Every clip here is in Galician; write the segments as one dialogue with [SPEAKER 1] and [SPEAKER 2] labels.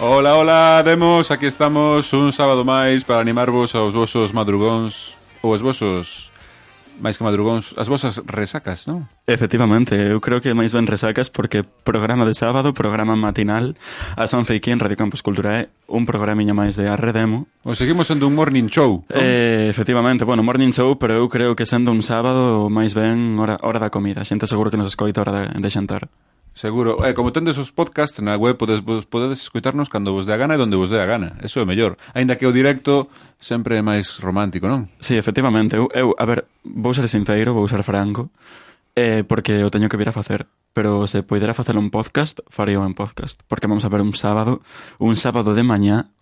[SPEAKER 1] Hola, hola, demos, aquí estamos un sábado máis para animarvos aos vosos madrugóns ou aos vosos máis que madrugóns, as vosas resacas, non?
[SPEAKER 2] Efectivamente, eu creo que máis ben resacas porque programa de sábado, programa matinal, ás 11 aquí en Radio Campus Cultura é un programiña máis de Arredemo.
[SPEAKER 1] O seguimos sendo un morning show. non?
[SPEAKER 2] Eh, efectivamente, bueno, morning show, pero eu creo que sendo un sábado máis ben hora, hora da comida. A xente seguro que nos escoita hora de, de xantar.
[SPEAKER 1] Seguro. Eh, como tendes os podcasts na web, podes, vos- podedes escoitarnos cando vos dé a gana e donde vos dé a gana. Eso é o mellor. Ainda que o directo sempre é máis romántico, non?
[SPEAKER 2] Sí, efectivamente, eu, eu a ver, vou ser sinceiro, vou ser franco, eh, porque o teño que vir a facer. Pero se poidera facer un podcast, faría un podcast. Porque vamos a ver un sábado, un sábado de mañá,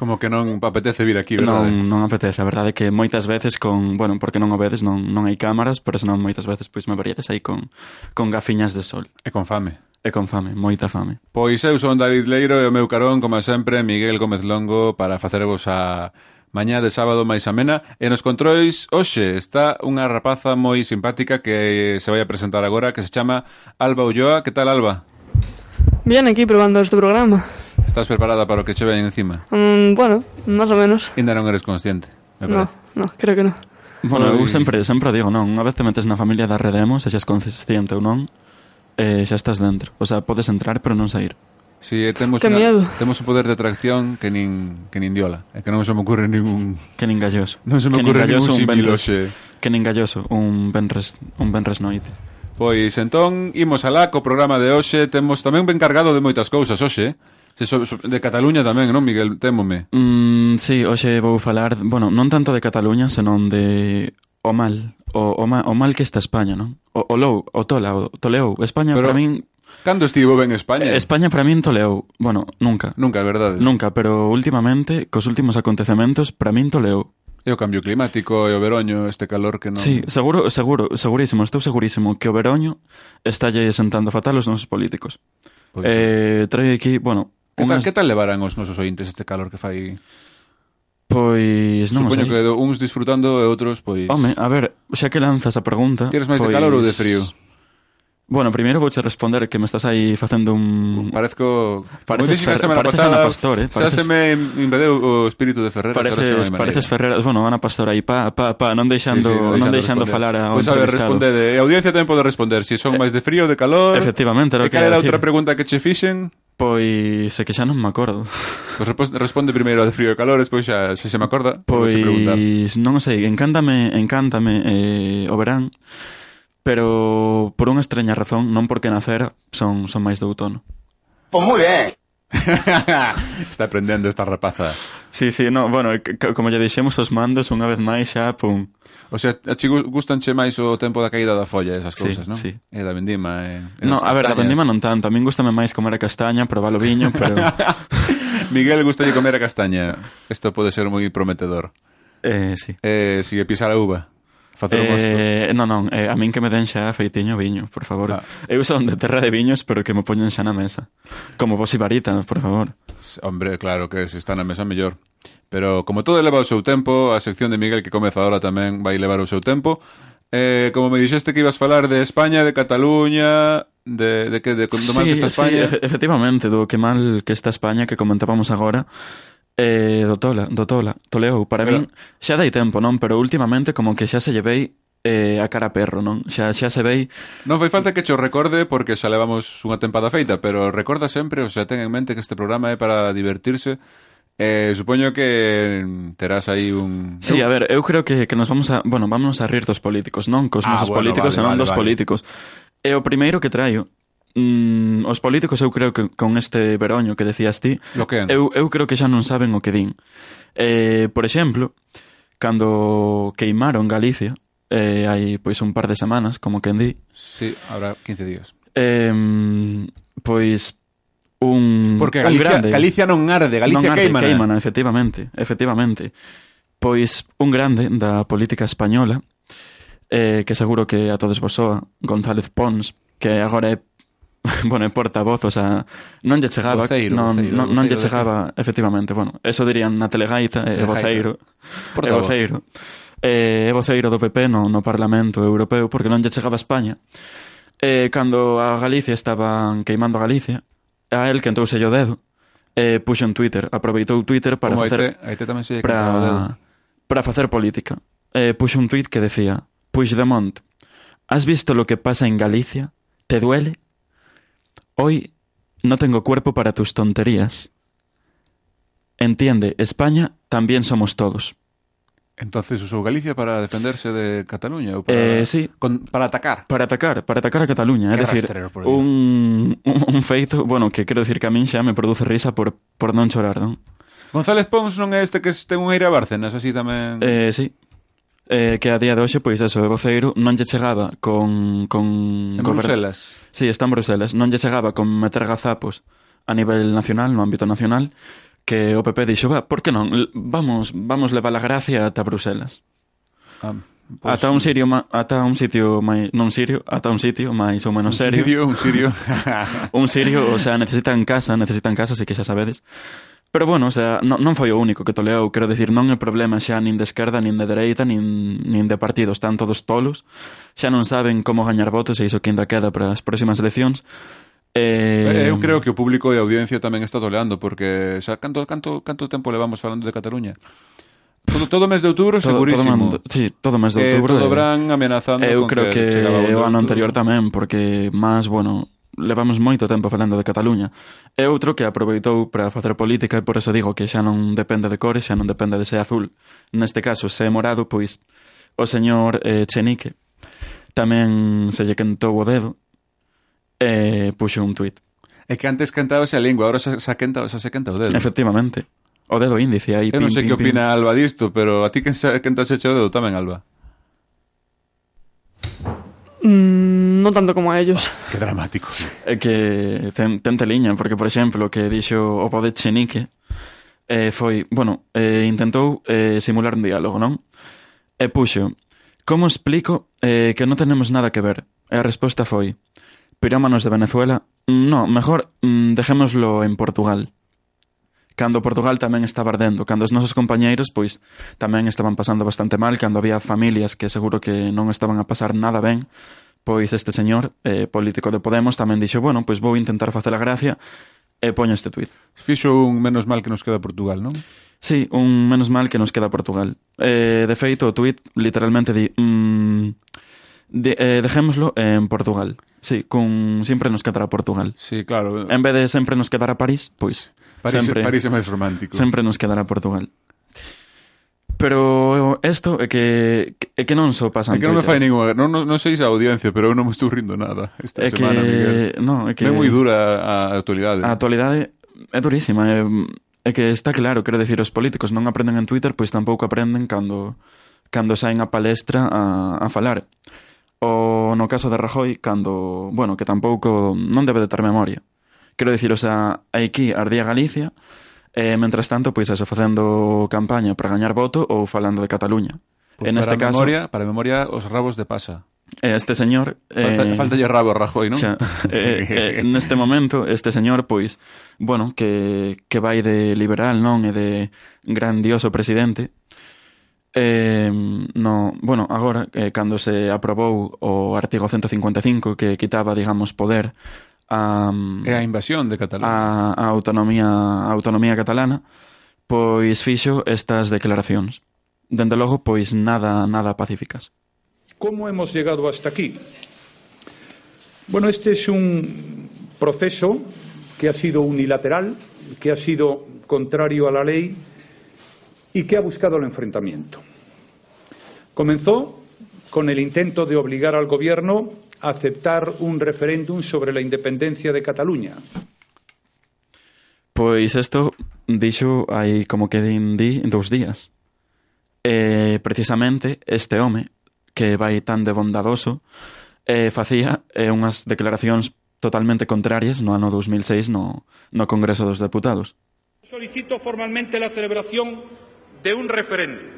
[SPEAKER 1] Como que non apetece vir aquí, verdade?
[SPEAKER 2] Non, non apetece, a verdade é que moitas veces con, bueno, porque non o vedes, non, non hai cámaras, pero senón moitas veces pois me veríades aí con, con gafiñas de sol
[SPEAKER 1] E con fame.
[SPEAKER 2] e con fame, moita fame.
[SPEAKER 1] Pois eu son David Leiro e o meu carón, como sempre, Miguel Gómez Longo para facervos a mañá de sábado máis amena. E nos controis, hoxe, está unha rapaza moi simpática que se vai a presentar agora, que se chama Alba Ulloa. Que tal, Alba?
[SPEAKER 3] Bien, aquí probando este programa.
[SPEAKER 1] Estás preparada para o que che ven encima?
[SPEAKER 3] Mm, bueno, más o menos.
[SPEAKER 1] Ainda non eres consciente, me
[SPEAKER 3] No,
[SPEAKER 1] parece.
[SPEAKER 3] no, creo que no.
[SPEAKER 2] Bueno, eu
[SPEAKER 1] Ui.
[SPEAKER 2] sempre, sempre o digo, non, unha vez te metes na familia da Redemo, se xas consciente ou non, eh, xa estás dentro. O sea, podes entrar, pero non sair.
[SPEAKER 1] Si, e temos,
[SPEAKER 3] Que
[SPEAKER 1] unha-
[SPEAKER 3] miedo.
[SPEAKER 1] temos un poder de atracción que nin, que nin diola. É que non se me ocurre ningún...
[SPEAKER 2] Que nin galloso.
[SPEAKER 1] Non se me
[SPEAKER 2] Que
[SPEAKER 1] ocurre
[SPEAKER 2] galloso,
[SPEAKER 1] ningún
[SPEAKER 2] un
[SPEAKER 1] símil
[SPEAKER 2] venres-
[SPEAKER 1] hoxe.
[SPEAKER 2] Que nin galloso, un benres, un benres noite.
[SPEAKER 1] Pois entón, imos alá co programa de hoxe Temos tamén ben cargado de moitas cousas hoxe eh? Se so, so, De Cataluña tamén, non, Miguel? Témome
[SPEAKER 2] Mm, sí, hoxe vou falar, bueno, non tanto de Cataluña, senón de o mal, o, o, ma, o mal que está España, non? O, o lou, o tola, o toleou. España
[SPEAKER 1] Pero-
[SPEAKER 2] para min,
[SPEAKER 1] Cando estivo ben España?
[SPEAKER 2] España para min toleou. Bueno, nunca.
[SPEAKER 1] Nunca, é verdade?
[SPEAKER 2] Nunca, pero últimamente, cos últimos acontecementos, para min toleou.
[SPEAKER 1] E o cambio climático e o veroño, este calor que non...
[SPEAKER 2] Sí, seguro, seguro, segurísimo, estou segurísimo que o Veroño está lle sentando fatal os nosos políticos.
[SPEAKER 1] Pois,
[SPEAKER 2] eh, traio aquí, bueno,
[SPEAKER 1] que, tal,
[SPEAKER 2] unhas,
[SPEAKER 1] que tal levarán os nosos ointes este calor que fai?
[SPEAKER 2] pois non o
[SPEAKER 1] Supoño
[SPEAKER 2] sei.
[SPEAKER 1] que do- uns disfrutando e outros, pois...
[SPEAKER 2] Home, a ver, xa que lanzas a pregunta... pois-
[SPEAKER 1] Tires máis de calor ou de frío?
[SPEAKER 2] Bueno, primeiro vouche responder que me estás aí facendo un...
[SPEAKER 1] Parezco... Como
[SPEAKER 2] Pareces
[SPEAKER 1] dixen a
[SPEAKER 2] Fer-
[SPEAKER 1] semana
[SPEAKER 2] pareces
[SPEAKER 1] pasada,
[SPEAKER 2] Ana Pastor, eh,
[SPEAKER 1] Xa se
[SPEAKER 2] pareces-
[SPEAKER 1] me invadeu o espírito de Ferreras ahora xa non hai
[SPEAKER 2] Pareces,
[SPEAKER 1] maneira.
[SPEAKER 2] pareces Ferreras, bueno, Ana Pastor aí, pa, pa, pa, non
[SPEAKER 1] Sí,
[SPEAKER 2] deixando,
[SPEAKER 1] sí,
[SPEAKER 2] non deixando
[SPEAKER 1] responder.
[SPEAKER 2] falar ao
[SPEAKER 1] Pois a ver,
[SPEAKER 2] entrevistado.
[SPEAKER 1] respondede. A audiencia ten podo responder se son máis de frío ou de calor.
[SPEAKER 2] Eh, Efectivamente, era
[SPEAKER 1] E
[SPEAKER 2] o que
[SPEAKER 1] cal
[SPEAKER 2] ia
[SPEAKER 1] era
[SPEAKER 2] decir.
[SPEAKER 1] outra pregunta que che fixen?
[SPEAKER 2] Pois, é que xa non me acordo.
[SPEAKER 1] Pois repos- responde primeiro a de frío e calor, despois xa se se me acorda. vou che preguntar.
[SPEAKER 2] Pois, non o sei, encántame, encántame eh, o verán, pero por unha estreña razón, non porque nacer, son, son máis do outono.
[SPEAKER 4] Pues muy bien.
[SPEAKER 1] Está aprendendo esta rapaza.
[SPEAKER 2] Sí, sí, no, bueno, c- c- como lle deixemos os mandos unha vez máis xa, pum,
[SPEAKER 1] O sea, a chi gu- gustanche máis o tempo da caída da folla e esas
[SPEAKER 2] Sí,
[SPEAKER 1] cousas, non?
[SPEAKER 2] sí.
[SPEAKER 1] E da vendima e, e
[SPEAKER 2] No,
[SPEAKER 1] das
[SPEAKER 2] a ver, da
[SPEAKER 1] castañas.
[SPEAKER 2] vendima non tanto. A min gustame máis comer a castaña, probar o viño, pero...
[SPEAKER 1] Miguel gusta comer a castaña. Isto pode ser moi prometedor.
[SPEAKER 2] eh, sí.
[SPEAKER 1] Eh, si pisar a uva, facer un gosto.
[SPEAKER 2] Eh, non, non, eh, a min que me den xa feitiño viño, por favor.
[SPEAKER 1] Ah.
[SPEAKER 2] Eu son de terra de viños, pero que me poñen xa na mesa. Como vos ibarítanos, por favor.
[SPEAKER 1] Hombre, claro que se está na mesa mellor. Pero como todo leva o seu tempo, a sección de Miguel que comeza ahora tamén vai levar o seu tempo. Eh, como me dixeste que ibas falar de España, de Cataluña, de, de que de, do mal que está España.
[SPEAKER 2] efe- efectivamente, do que mal que está España que comentábamos agora. Eh, do Tola, do Tola, Toleou, para
[SPEAKER 1] Pero-
[SPEAKER 2] min xa dai tempo, non? Pero últimamente como que xa se llevei eh, a cara a perro, non? Xa, xa se vei
[SPEAKER 1] Non fai falta que cho recorde porque xa levamos unha tempada feita, pero recorda sempre, o sea, ten en mente que este programa é para divertirse. Eh, supoño que terás aí un...
[SPEAKER 2] Sí, a ver, eu creo que, que nos vamos a... Bueno, vamos a rir dos políticos, non cos
[SPEAKER 1] Ah,
[SPEAKER 2] nosos
[SPEAKER 1] bueno,
[SPEAKER 2] políticos,
[SPEAKER 1] vale,
[SPEAKER 2] senón
[SPEAKER 1] vale,
[SPEAKER 2] dos
[SPEAKER 1] vale.
[SPEAKER 2] políticos. E o primeiro que traio... Mm, os políticos eu creo que con este veroño que decías ti
[SPEAKER 1] Bloquean.
[SPEAKER 2] eu, eu creo que xa non saben o que din eh, Por exemplo Cando queimaron Galicia eh, Hai pois un par de semanas Como quen di
[SPEAKER 1] Sí, habrá 15 días.
[SPEAKER 2] eh, Pois un,
[SPEAKER 1] Porque Mm.
[SPEAKER 2] un
[SPEAKER 1] Galicia,
[SPEAKER 2] grande
[SPEAKER 1] Galicia non arde, Galicia
[SPEAKER 2] non arde,
[SPEAKER 1] queima.
[SPEAKER 2] queimana, efectivamente, efectivamente. Pois un grande da política española, eh, que seguro que a todos vos soa, González Pons, que agora é bueno, é portavoz, o sea, non lle chegaba,
[SPEAKER 1] Voceiro,
[SPEAKER 2] non,
[SPEAKER 1] voceiro,
[SPEAKER 2] non, non
[SPEAKER 1] voceiro
[SPEAKER 2] lle
[SPEAKER 1] de
[SPEAKER 2] chegaba, efectivamente, bueno, eso dirían na telegaita, é
[SPEAKER 1] Telegaita.
[SPEAKER 2] voceiro, é
[SPEAKER 1] Portavoz.
[SPEAKER 2] voceiro. Eh, é voceiro do PP no, no Parlamento Europeo porque non lle chegaba a España. Eh, cando a Galicia estaban queimando a Galicia, a el quentouse o dedo e eh, puxo en Twitter, aproveitou Twitter para
[SPEAKER 1] Como
[SPEAKER 2] facer
[SPEAKER 1] aí te tamén se lle quitaba o dedo.
[SPEAKER 2] para para facer política. Eh, puxo un tuit que decía Puigdemont, ¿has visto lo que pasa en Galicia? ¿Te duele? Hoy no tengo cuerpo para tus tonterías. Entiende, España también somos todos.
[SPEAKER 1] Entonces usou Galicia para defenderse de Cataluña ou para,
[SPEAKER 2] Eh, sí,
[SPEAKER 1] con- para atacar.
[SPEAKER 2] para atacar, para atacar a Cataluña, é
[SPEAKER 1] Que
[SPEAKER 2] decir,
[SPEAKER 1] rastrero, por Dios.
[SPEAKER 2] un, un, un feito, bueno, que quero decir que a min xa me produce risa por, por non chorar, non?
[SPEAKER 1] González Pons non é este que ten un aire a Bárcenas, así tamén.
[SPEAKER 2] Eh, sí. Eh, que a día de hoxe, pois, eso, é voceiro, non lle chegaba con... con
[SPEAKER 1] en
[SPEAKER 2] gober-
[SPEAKER 1] Bruselas.
[SPEAKER 2] Sí, está en Bruselas. Non lle chegaba con meter gazapos a nivel nacional, no ámbito nacional, que o PP dixo, va, por que non? L- Vamos, vamos levar a gracia ata Bruselas.
[SPEAKER 1] Ah, pois,
[SPEAKER 2] ata un sirio, ma- ata un sitio máis, non sirio, ata un sitio máis ou menos serio.
[SPEAKER 1] Un sirio, un sirio.
[SPEAKER 2] Un sirio, o sea, necesitan casa, necesitan casa, así que xa sabedes. Pero bueno, o sea, non, non foi o único que toleou, quero decir, non é problema xa nin de esquerda, nin de dereita, nin, nin de partidos, están todos tolos, xa non saben como gañar votos e iso que ainda queda para as próximas eleccións.
[SPEAKER 1] Eh,
[SPEAKER 2] Eh,
[SPEAKER 1] Eu creo que o público e a audiencia tamén está toleando porque xa canto canto canto tempo levamos falando de Cataluña. Todo todo o mes de outubro segurísimo.
[SPEAKER 2] Eh, Todo, mando- sí, todo mes
[SPEAKER 1] Que
[SPEAKER 2] de outubro.
[SPEAKER 1] todo
[SPEAKER 2] eh,
[SPEAKER 1] Bran amenazando
[SPEAKER 2] eu
[SPEAKER 1] con
[SPEAKER 2] creo que
[SPEAKER 1] chegaba o de
[SPEAKER 2] o ano
[SPEAKER 1] outubro.
[SPEAKER 2] anterior tamén, porque máis, bueno, levamos moito tempo falando de Cataluña. É outro que aproveitou para facer política e por eso digo que xa non depende de cores, xa non depende de se é azul. Neste caso, se é morado, pois o señor eh, Chenique tamén se lle quentou o dedo e puxo un tuit.
[SPEAKER 1] É que antes cantábase a lingua, agora xa, xa quenta, xa se quenta o dedo.
[SPEAKER 2] Efectivamente. O dedo índice aí.
[SPEAKER 1] Eu non
[SPEAKER 2] pin,
[SPEAKER 1] sei
[SPEAKER 2] pin,
[SPEAKER 1] que
[SPEAKER 2] pin.
[SPEAKER 1] opina Alba disto, pero a ti que xa quenta se o dedo tamén, Alba.
[SPEAKER 3] Mm, no tanto como a ellos.
[SPEAKER 1] Que dramático.
[SPEAKER 2] É que ten, tente liña, porque, por exemplo, o que dixo o Podet Chenique eh, foi, bueno, eh, intentou eh, simular un diálogo, non? E puxo, como explico eh, que non tenemos nada que ver? E a resposta foi, pirómanos de Venezuela, no, mejor mm, dejémoslo en Portugal. Cando Portugal tamén estaba ardendo, cando os nosos compañeiros pois tamén estaban pasando bastante mal, cando había familias que seguro que non estaban a pasar nada ben, Pois este señor, eh, político de Podemos, tamén dixo, bueno, pois vou intentar facer a gracia e poño este tuit.
[SPEAKER 1] Fixo un menos mal que nos queda Portugal, non?
[SPEAKER 2] Sí, un menos mal que nos queda Portugal. Eh, de feito, o tuit literalmente di... Mm, de, eh, dejémoslo en Portugal. Sí, cun sempre nos quedará Portugal.
[SPEAKER 1] Sí, claro.
[SPEAKER 2] En vez de sempre nos quedará París, pois
[SPEAKER 1] París,
[SPEAKER 2] sempre-
[SPEAKER 1] París é máis romántico.
[SPEAKER 2] sempre nos quedará Portugal. Pero isto é que, é que non só
[SPEAKER 1] É
[SPEAKER 2] pasa
[SPEAKER 1] que
[SPEAKER 2] en
[SPEAKER 1] non me fai
[SPEAKER 2] Twitter.
[SPEAKER 1] ninguna... Non, non, non sei se a audiencia, pero eu non me estou rindo nada esta
[SPEAKER 2] É que...
[SPEAKER 1] semana, Miguel.
[SPEAKER 2] Non, é
[SPEAKER 1] Que... É
[SPEAKER 2] que... Ah,
[SPEAKER 1] moi dura a actualidade.
[SPEAKER 2] A actualidade é durísima, é, é que está claro, quero decir, os políticos non aprenden en Twitter, pois tampouco aprenden cando cando saen a palestra a, a falar. O no caso de Rajoy, cando, bueno, que tampouco non debe de ter memoria. Quero dicir, o sea, aquí ardía Galicia, e mentras tanto, pois eso, facendo campaña para gañar voto ou falando de Cataluña.
[SPEAKER 1] Pois
[SPEAKER 2] en
[SPEAKER 1] para
[SPEAKER 2] este caso,
[SPEAKER 1] memoria, para memoria, os rabos de pasa.
[SPEAKER 2] E Este señor...
[SPEAKER 1] Falta,
[SPEAKER 2] eh,
[SPEAKER 1] faltalle rabo a Rajoy, non?
[SPEAKER 2] Xa, eh, eh, neste momento, este señor, pois, bueno, que, que vai de liberal, non? E de grandioso presidente. Eh, no, bueno, agora, eh, cando se aprobou o artigo 155 que quitaba, digamos, poder a,
[SPEAKER 1] É a invasión de Cataluña.
[SPEAKER 2] a, a autonomía a autonomía catalana, pois fixo estas declaracións. Dende logo, pois nada nada pacíficas.
[SPEAKER 4] ¿Cómo hemos llegado hasta aquí? Bueno, este es un proceso que ha sido unilateral, que ha sido contrario a la ley y que ha buscado el enfrentamiento. Comenzó con el intento de obligar al Gobierno a aceptar un referéndum sobre la independencia de Cataluña,
[SPEAKER 2] Pois isto dixo hai como que din di dous días. E precisamente este home que vai tan de bondadoso eh, facía eh, unhas declaracións totalmente contrarias no ano 2006 no, no Congreso dos Deputados.
[SPEAKER 5] Solicito formalmente la celebración de un referéndum.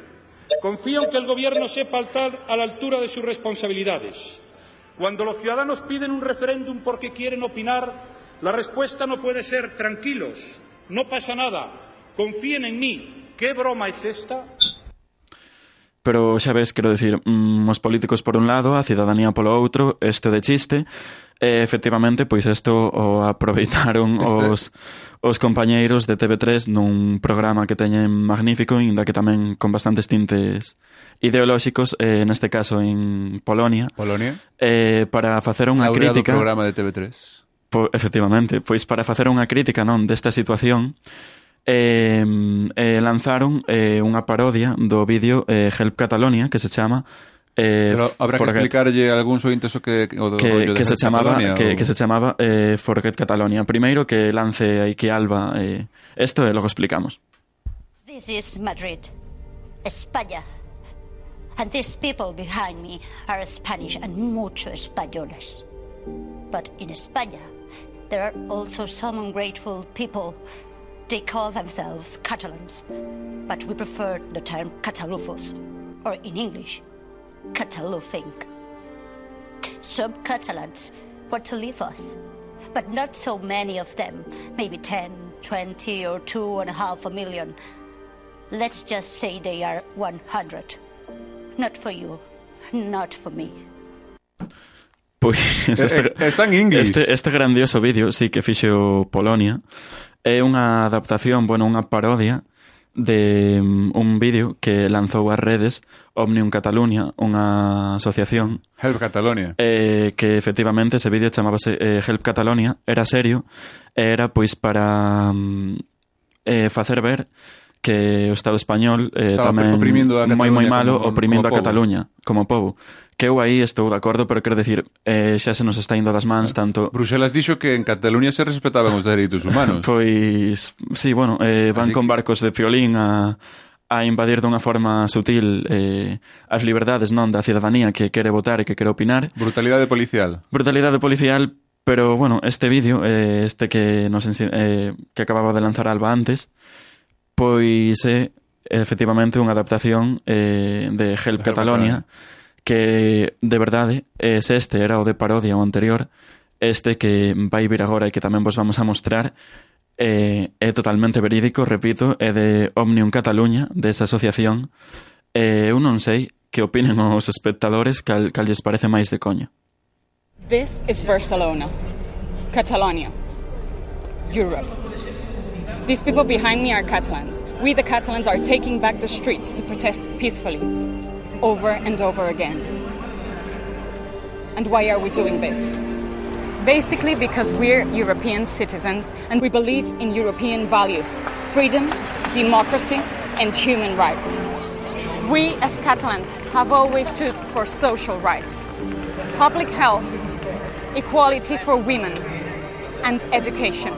[SPEAKER 5] Confío en que el Gobierno sepa estar a la altura de sus responsabilidades. Cuando los ciudadanos piden un referéndum porque quieren opinar, la respuesta no puede ser tranquilos, no pasa nada, confíen en mí. ¿Qué broma es esta?
[SPEAKER 2] Pero xa ves, quero decir, mm, os políticos por un lado, a cidadanía polo outro, isto de chiste, e efectivamente, pois isto o aproveitaron
[SPEAKER 1] Este-
[SPEAKER 2] os, os compañeiros de TV3 nun programa que teñen magnífico, inda que tamén con bastantes tintes ideolóxicos, eh, neste caso en Polonia,
[SPEAKER 1] Polonia.
[SPEAKER 2] eh, para facer unha
[SPEAKER 1] Laureado
[SPEAKER 2] crítica...
[SPEAKER 1] programa de TV3.
[SPEAKER 2] Po, efectivamente, pois para facer unha crítica non desta situación eh, eh, lanzaron eh, unha parodia do vídeo eh, Help Catalonia que se chama eh,
[SPEAKER 1] Pero habrá que
[SPEAKER 2] Forget-
[SPEAKER 1] explicarlle a algúns ointes o que o do rollo de
[SPEAKER 2] que, que, se
[SPEAKER 1] Help
[SPEAKER 2] chamaba,
[SPEAKER 1] Catalonia,
[SPEAKER 2] que,
[SPEAKER 1] ou-
[SPEAKER 2] que se chamaba eh, Forget Catalonia primeiro que lance aí que Alba eh, esto e logo explicamos
[SPEAKER 6] This is Madrid, España. And these people behind me are Spanish and mucho españoles. But in España, there are also some ungrateful people. They call themselves Catalans, but we prefer the term Catalufos, or in English, Catalufink. Some Catalans want to leave us, but not so many of them, maybe 10, 20, or two and a half a million. Let's just say they are 100. Not for you, not for me.
[SPEAKER 2] Pois
[SPEAKER 1] Eh, eh, está en inglés.
[SPEAKER 2] Este, este grandioso vídeo, sí, que fixo Polonia, é unha adaptación, bueno, unha parodia de mm, un vídeo que lanzou as redes Omnium Cataluña, unha asociación
[SPEAKER 1] Help Catalonia.
[SPEAKER 2] eh, que efectivamente ese vídeo chamábase eh, Help Catalonia, era serio, e era pois para mm, eh, facer ver que o Estado español eh,
[SPEAKER 1] Estaba
[SPEAKER 2] tamén
[SPEAKER 1] oprimindo a
[SPEAKER 2] moi moi
[SPEAKER 1] Cataluña
[SPEAKER 2] malo
[SPEAKER 1] como-
[SPEAKER 2] oprimindo
[SPEAKER 1] como
[SPEAKER 2] a
[SPEAKER 1] pobo.
[SPEAKER 2] Cataluña como pobo. Que eu aí estou de acordo, pero quero decir, eh, xa se nos está indo das mans tanto
[SPEAKER 1] Bruselas dixo que en Cataluña se respetaban os dereitos humanos.
[SPEAKER 2] Pues Pois, sí, bueno, eh,
[SPEAKER 1] Así
[SPEAKER 2] van con
[SPEAKER 1] que-
[SPEAKER 2] barcos de piolín a, a invadir dunha forma sutil eh, as liberdades non da cidadanía que quere votar e que quere opinar.
[SPEAKER 1] Brutalidade policial.
[SPEAKER 2] Brutalidade policial, pero bueno, este vídeo, eh, este que nos ensi- eh, que acababa de lanzar Alba antes, pois é efectivamente unha adaptación eh, de Help
[SPEAKER 1] Help
[SPEAKER 2] Catalonia que de verdade es este, era o de parodia o anterior, este que vai vir agora e que tamén vos vamos a mostrar eh, é totalmente verídico, repito, é de Omnium Cataluña, desa asociación. Eh, eu non sei que opinen os espectadores cal, cal lles parece máis de coña.
[SPEAKER 7] This is Barcelona, Catalonia, Europe. These people behind me are Catalans. We, the Catalans, are taking back the streets to protest peacefully, over and over again. And why are we doing this? Basically, because we're European citizens and we believe in European values freedom, democracy, and human rights. We, as Catalans, have always stood for social rights public health, equality for women, and education.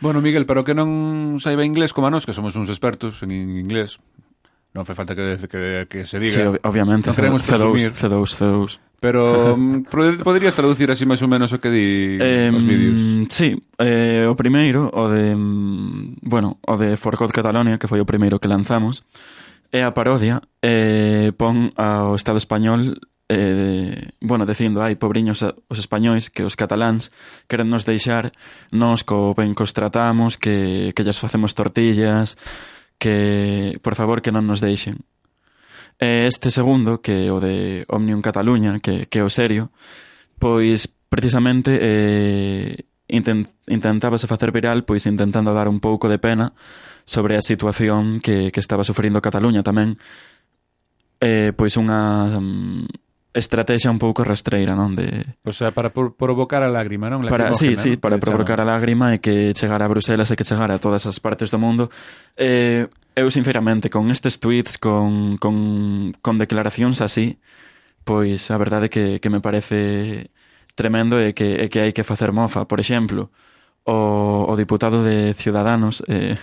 [SPEAKER 1] Bueno, Miguel, pero que non saiba inglés como a nós, que somos uns expertos en in- inglés, non fai falta que, que, que se diga.
[SPEAKER 2] Sí, ob- obviamente,
[SPEAKER 1] Non queremos
[SPEAKER 2] C2,
[SPEAKER 1] presumir.
[SPEAKER 2] C2, C2.
[SPEAKER 1] Pero mm, pro- poderías traducir así máis ou menos o que di os
[SPEAKER 2] Em,
[SPEAKER 1] vídeos.
[SPEAKER 2] Sí, eh, o primeiro, o de... mm, Bueno, o de Forgot Catalonia, que foi o primeiro que lanzamos, é a parodia, eh, pon ao Estado español eh, bueno, dicindo, ai, pobriños a- os españois que os cataláns queren nos deixar, nos co ben cos tratamos, que, que lles facemos tortillas, que por favor que non nos deixen. E este segundo, que é o de Omnium Cataluña, que, que é o serio, pois precisamente eh, inten intentábase facer viral pois intentando dar un pouco de pena sobre a situación que, que estaba sufrindo Cataluña tamén eh, pois unha mm, estrategia un pouco rastreira non de,
[SPEAKER 1] O sea, para por- provocar a lágrima, non?
[SPEAKER 2] para, sí,
[SPEAKER 1] Lacrimógena,
[SPEAKER 2] sí,
[SPEAKER 1] non?
[SPEAKER 2] para
[SPEAKER 1] Que lle
[SPEAKER 2] provocar a
[SPEAKER 1] chaman.
[SPEAKER 2] lágrima e que chegar a Bruselas e que chegar a todas as partes do mundo. Eh, eu, sinceramente, con estes tweets, con, con, con declaracións así, pois a verdade que, que me parece tremendo e que, e que hai que facer mofa. Por exemplo, o, o diputado de Ciudadanos, eh,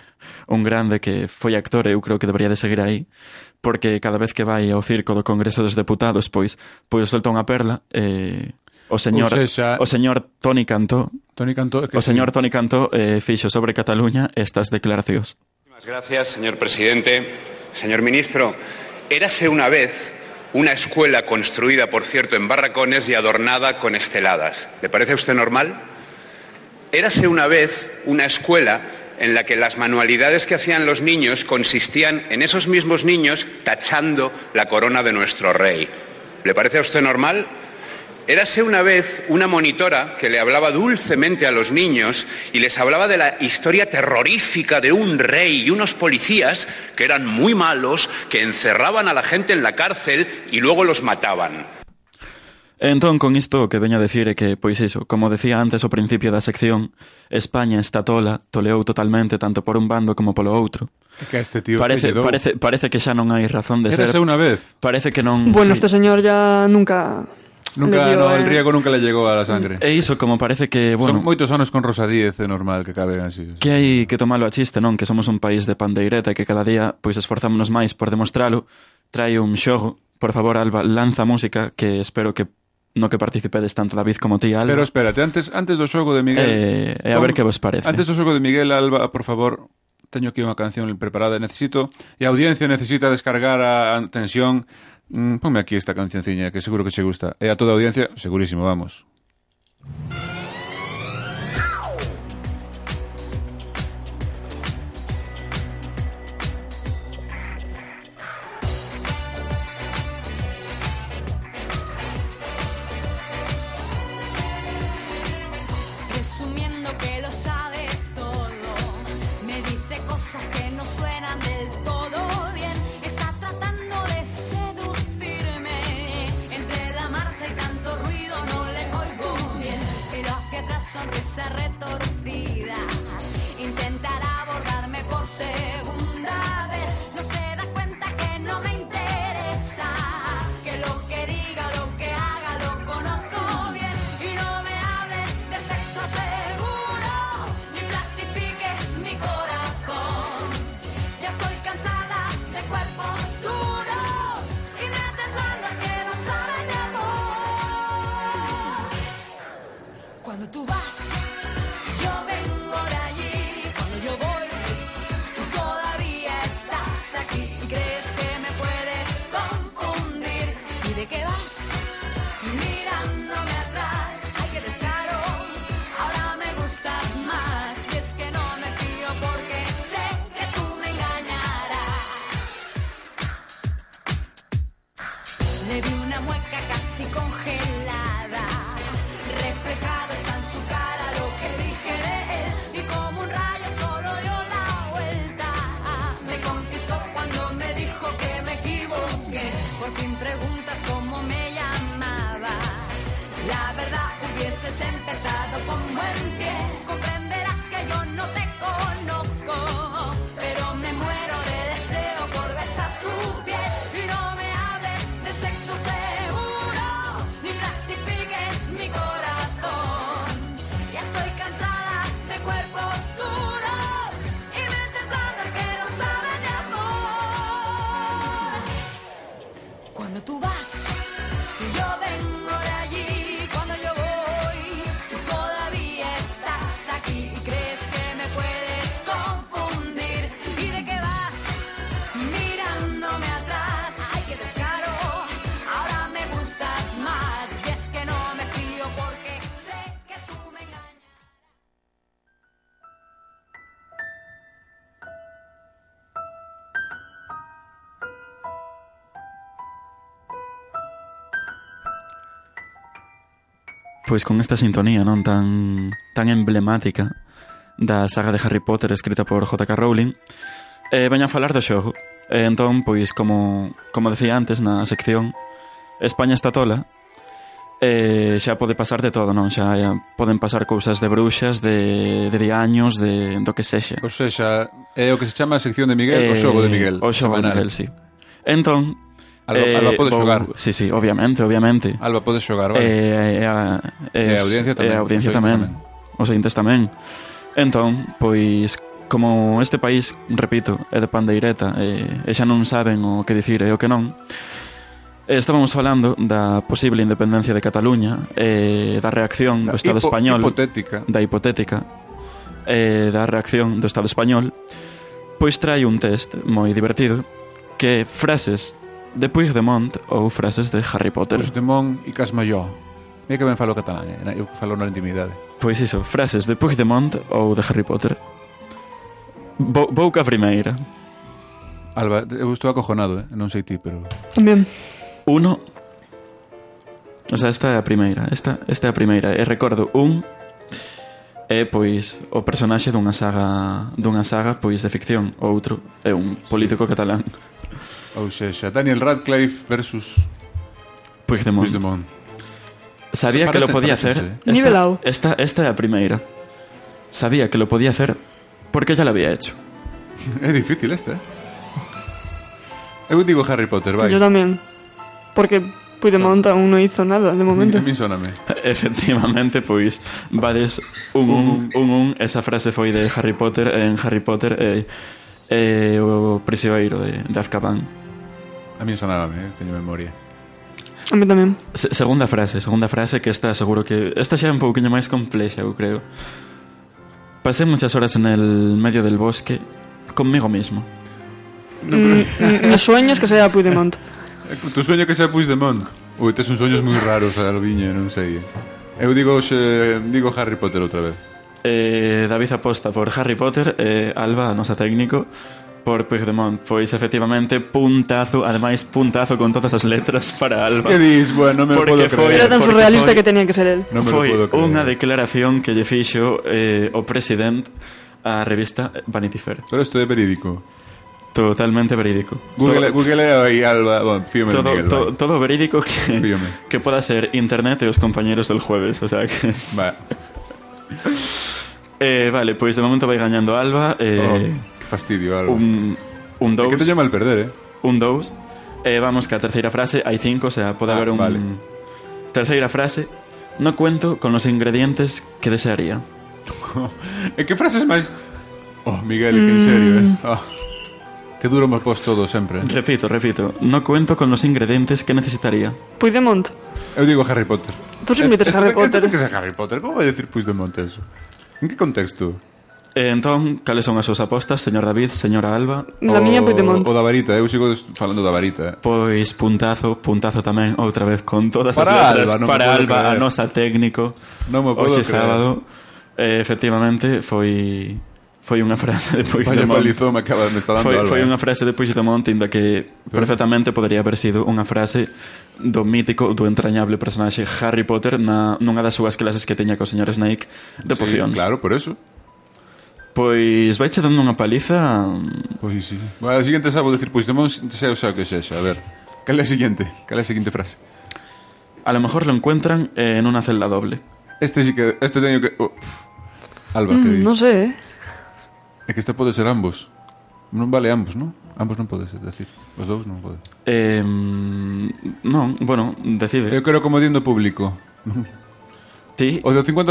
[SPEAKER 2] un grande que foi actor, e eu creo que debería de seguir aí, porque cada vez que vai ao circo do Congreso dos Deputados, pois, pois solta unha perla, eh, o señor,
[SPEAKER 1] sexa-
[SPEAKER 2] o señor Toni Cantó,
[SPEAKER 1] Toni Cantó, que
[SPEAKER 2] o señor Toni Cantó eh, fixo sobre Cataluña estas declaracións.
[SPEAKER 8] Muchas gracias, señor presidente. Señor ministro, érase una vez una escuela construida, por cierto, en barracones y adornada con esteladas. ¿Le parece a usted normal? Érase una vez una escuela en la que las manualidades que hacían los niños consistían en esos mismos niños tachando la corona de nuestro rey. ¿Le parece a usted normal? Érase una vez una monitora que le hablaba dulcemente a los niños y les hablaba de la historia terrorífica de un rey y unos policías que eran muy malos, que encerraban a la gente en la cárcel y luego los mataban.
[SPEAKER 2] Entón, con isto o que veño a decir é que, pois iso, como decía antes ao principio da sección, España está tola, toleou totalmente tanto por un bando como polo outro.
[SPEAKER 1] Que este tío
[SPEAKER 2] Parece, parece, parece que xa non hai razón de ser.
[SPEAKER 1] Érase una vez.
[SPEAKER 2] Parece que non... sí.
[SPEAKER 3] Bueno, este señor ya nunca...
[SPEAKER 1] Mm, Nunca,
[SPEAKER 3] le dio,
[SPEAKER 1] no,
[SPEAKER 3] eh.
[SPEAKER 1] el riego nunca le llegó a la sangre.
[SPEAKER 2] E iso, como parece que, Eh,
[SPEAKER 1] Son
[SPEAKER 2] bueno...
[SPEAKER 1] moitos anos con Rosa Díez, é normal que caben así.
[SPEAKER 2] Que hai que tomalo a chiste, non? Que somos un país de pandeireta e que cada día pois esforzámonos máis por demostralo. Trae un xogo. Por favor, Alba, lanza música que espero que no que participedes tanto David como ti, Alba.
[SPEAKER 1] Pero espérate, antes antes do xogo de Miguel...
[SPEAKER 2] Eh, eh, a ver que vos parece.
[SPEAKER 1] Antes do xogo de Miguel Alba, por favor, teño aquí unha canción preparada, necesito... E a audiencia necesita descargar a, a tensión... Mm, ponme aquí esta cancionciña, que seguro que che gusta. E a toda a audiencia, segurísimo, vamos.
[SPEAKER 9] presumiendo que lo sabe todo. Me dice cosas que no suenan del todo bien. Está tratando de seducirme. Entre la marcha y tanto ruido no le oigo bien. Pero hacia atrás sonrisa retorcida. Intentará abordarme por segunda vez. No se da cuenta que no me interesa. Que lo que diga, lo que haga, lo conozco bien. Y no me hables de sexo seguro, ni plastifiques mi corazón. Ya estoy cansada de cuerpos duros y me bandas que no saben de amor. Cuando tú vas, yo vengo de allí. Cuando yo voy, tú todavía estás aquí y crees que me puedes confundir. ¿Y de qué vas? Mirándome atrás, hay que descaro. Ahora me gustas más. Y es que no me fío porque sé que tú me engañarás. Le vi una mueca casi congelada. Reflejado está en su cara lo que dije de él. Y como un rayo solo dio la vuelta. Me conquistó cuando me dijo que me equivoqué. Por fin preguntas cómo me llamaba. La verdad hubieses empezado con buen pie. Comprenderás que yo no te conozco. Pero me muero de deseo por besar su piel. Y no me hables de sexo seguro. Ni plastifiques mi corazón. Ya estoy cansada de cuerpos duros. Y mentes blandas que no saben de amor. Cuando tú vas, yo vengo de allí. Cuando yo voy, tú todavía estás aquí. Y crees que me puedes confundir. ¿Y de qué vas? Mirándome atrás. Ay, qué descaro. Ahora me gustas más. Y es que no me fío porque sé que tú me engañas.
[SPEAKER 2] Pois con esta sintonía non tan tan emblemática da saga de Harry Potter escrita por J.K. Rowling, eh, veño a falar do xogo. E entón, pois, como, como decía antes na sección, España está tola, eh, xa pode pasar de todo, non? Xa eh, poden pasar cousas de bruxas, de, de diaños, de, do que sexa.
[SPEAKER 1] O sexa, é o que se chama a sección de Miguel, o
[SPEAKER 2] Eh,
[SPEAKER 1] xogo de Miguel.
[SPEAKER 2] O xogo de
[SPEAKER 1] semanal.
[SPEAKER 2] Miguel, sí. Entón... eh,
[SPEAKER 1] Alba- Alba pode
[SPEAKER 2] vou- Eh,
[SPEAKER 1] xogar.
[SPEAKER 2] Sí, sí, obviamente, obviamente.
[SPEAKER 1] Alba, podes xogar, vale?
[SPEAKER 2] E, e, a,
[SPEAKER 1] E a Eh, audiencia tamén,
[SPEAKER 2] E a eh, audiencia
[SPEAKER 1] os ointes
[SPEAKER 2] tamén.
[SPEAKER 1] tamén.
[SPEAKER 2] Os ointes tamén. Entón, pois, como este país, repito, é de pandeireta e, e xa non saben o que dicir e o que non, eh, estábamos falando da posible independencia de Cataluña e da reacción do Estado
[SPEAKER 1] Hipo-
[SPEAKER 2] español
[SPEAKER 1] Hipotética.
[SPEAKER 2] da hipotética e da reacción do Estado español, pois trai un test moi divertido que é frases de Puigdemont ou frases de Harry Potter.
[SPEAKER 1] Puigdemont e Casmalló. Mira que ben falo catalán, eh? eu falo na intimidade.
[SPEAKER 2] Pois iso, frases de Puigdemont ou de Harry Potter. Bo- Boca primeira.
[SPEAKER 1] Alba, eu estou acojonado, eh? non sei ti, pero...
[SPEAKER 3] También.
[SPEAKER 2] Uno. O sea, esta é a primeira. Esta, esta é a primeira. E recordo, un é, pois, o personaxe dunha saga, dunha saga pois, de ficción. O outro é un político catalán.
[SPEAKER 1] Ou sexa, Daniel Radcliffe versus
[SPEAKER 2] Puigdemont.
[SPEAKER 1] Puigdemont. Se
[SPEAKER 2] Sabía que lo
[SPEAKER 1] parecen,
[SPEAKER 2] podía
[SPEAKER 1] parecen,
[SPEAKER 2] hacer.
[SPEAKER 1] sí.
[SPEAKER 2] Esta-
[SPEAKER 3] Nivelado.
[SPEAKER 2] Esta, esta é a primeira. Sabía que lo podía hacer porque ya lo había hecho.
[SPEAKER 1] É difícil esta, eh? Eu digo Harry Potter, vai.
[SPEAKER 3] Yo también. Porque Puigdemont aún no hizo nada de momento.
[SPEAKER 1] A mí soname.
[SPEAKER 2] Efectivamente, pois Bares un un, un un Esa frase foi de Harry Potter En Harry Potter é, é o prisioeiro de, de Azkaban
[SPEAKER 1] A mí sonábame, eh? teño memoria.
[SPEAKER 3] A mí también.
[SPEAKER 2] Se, Segunda frase, segunda frase que está seguro que Esta xa é un pouquinho máis complexa, eu creo Pasé muchas horas en el medio del bosque Conmigo mismo
[SPEAKER 3] Mm, Mis sueños que sea Puigdemont.
[SPEAKER 1] Eh, Tu sueño que sea Puigdemont? Ui, tes uns sueños moi raros, Albiña, non sei. eh. Eu digo xe, digo Harry Potter outra vez.
[SPEAKER 2] eh, David aposta por Harry Potter eh, Alba, a nosa técnico por Puigdemont Pois efectivamente puntazo, ademais puntazo con todas as letras para Alba
[SPEAKER 1] Que dis? Bueno, non me lo
[SPEAKER 2] Porque
[SPEAKER 1] podo
[SPEAKER 2] foi-
[SPEAKER 1] creer.
[SPEAKER 3] Era tan
[SPEAKER 2] porque soy-
[SPEAKER 3] surrealista que tenía que ser él.
[SPEAKER 1] Non me
[SPEAKER 2] foi
[SPEAKER 1] lo podo creer.
[SPEAKER 2] unha declaración que lle fixo eh, o presidente á revista Vanity Fair.
[SPEAKER 1] Pero isto é verídico.
[SPEAKER 2] Totalmente verídico.
[SPEAKER 1] Google,
[SPEAKER 2] todo,
[SPEAKER 1] Google aí Alba, bueno, fíome de
[SPEAKER 2] todo,
[SPEAKER 1] Miguel.
[SPEAKER 2] todo,
[SPEAKER 1] Todo,
[SPEAKER 2] todo verídico que,
[SPEAKER 1] Fíome.
[SPEAKER 2] que pueda ser internet e os compañeros del jueves. O sea que,
[SPEAKER 1] Va.
[SPEAKER 2] eh, vale, pois de momento vai gañando Alba
[SPEAKER 1] Oh,
[SPEAKER 2] eh,
[SPEAKER 1] que fastidio, Alba.
[SPEAKER 2] oh. un, un
[SPEAKER 1] É que
[SPEAKER 2] dous,
[SPEAKER 1] teño mal perder, eh?
[SPEAKER 2] un dous. Eh, vamos que a terceira frase hai cinco, o sea, pode
[SPEAKER 1] Ah,
[SPEAKER 2] haber un...
[SPEAKER 1] vale.
[SPEAKER 2] Terceira frase, no cuento con los ingredientes que desearía.
[SPEAKER 1] E que Eh, frases máis... Oh, Miguel, que en serio,
[SPEAKER 3] Mm.
[SPEAKER 1] eh? Oh. Que duro mos pos todo sempre. eh?
[SPEAKER 2] Repito, repito, no cuento con los ingredientes que necesitaría.
[SPEAKER 3] Puigdemont.
[SPEAKER 1] Eu digo Harry Potter. Eh,
[SPEAKER 3] Tú sempre dices
[SPEAKER 1] Esto-
[SPEAKER 3] Harry
[SPEAKER 1] esto
[SPEAKER 3] Potter. ¿eh?
[SPEAKER 1] ten que ser Harry Potter. Como vai decir Puigdemont eso? En que contexto?
[SPEAKER 2] E entón, cales son as súas apostas, señor David, señora Alba?
[SPEAKER 3] La
[SPEAKER 1] O-
[SPEAKER 3] miña Puigdemont.
[SPEAKER 1] O da varita, eu sigo des- falando da varita. eh.
[SPEAKER 2] Pois puntazo, puntazo tamén outra vez con todas
[SPEAKER 1] Para
[SPEAKER 2] as letras
[SPEAKER 1] Alba, non me
[SPEAKER 2] para
[SPEAKER 1] podo
[SPEAKER 2] Alba, a
[SPEAKER 1] creer.
[SPEAKER 2] nosa técnico.
[SPEAKER 1] Non me podo
[SPEAKER 2] Hoxe
[SPEAKER 1] creer.
[SPEAKER 2] sábado, eh, efectivamente foi foi unha frase de
[SPEAKER 1] Vaya
[SPEAKER 2] Puigdemont.
[SPEAKER 1] palizón me acaba, me está dando
[SPEAKER 2] Foi,
[SPEAKER 1] Alba.
[SPEAKER 2] foi
[SPEAKER 1] eh.
[SPEAKER 2] unha frase de Puigdemont inda que perfectamente podería haber sido unha frase do mítico, do entrañable personaxe Harry Potter na, nunha das súas clases que teña co señor Snape de
[SPEAKER 1] Sí,
[SPEAKER 2] pocións.
[SPEAKER 1] claro, por eso.
[SPEAKER 2] Pois vai che dando unha paliza
[SPEAKER 1] Pois sí. Bueno, a siguiente sabo decir Puigdemont, sea o sea que sexa. A ver, cal é a siguiente? Cal é a siguiente frase?
[SPEAKER 2] A lo mejor lo encuentran eh, en una celda doble.
[SPEAKER 1] Este sí que... Este teño que... Oh. Alba, que
[SPEAKER 3] Mm,
[SPEAKER 1] dis?
[SPEAKER 3] No sé, eh.
[SPEAKER 1] É que este pode ser ambos. Non vale ambos, non? Ambos non pode ser, decir. Os dous non pode.
[SPEAKER 2] Eh, non, bueno, decide.
[SPEAKER 1] Eu quero como dindo público.
[SPEAKER 2] Ti,
[SPEAKER 1] Eh, O do 50%.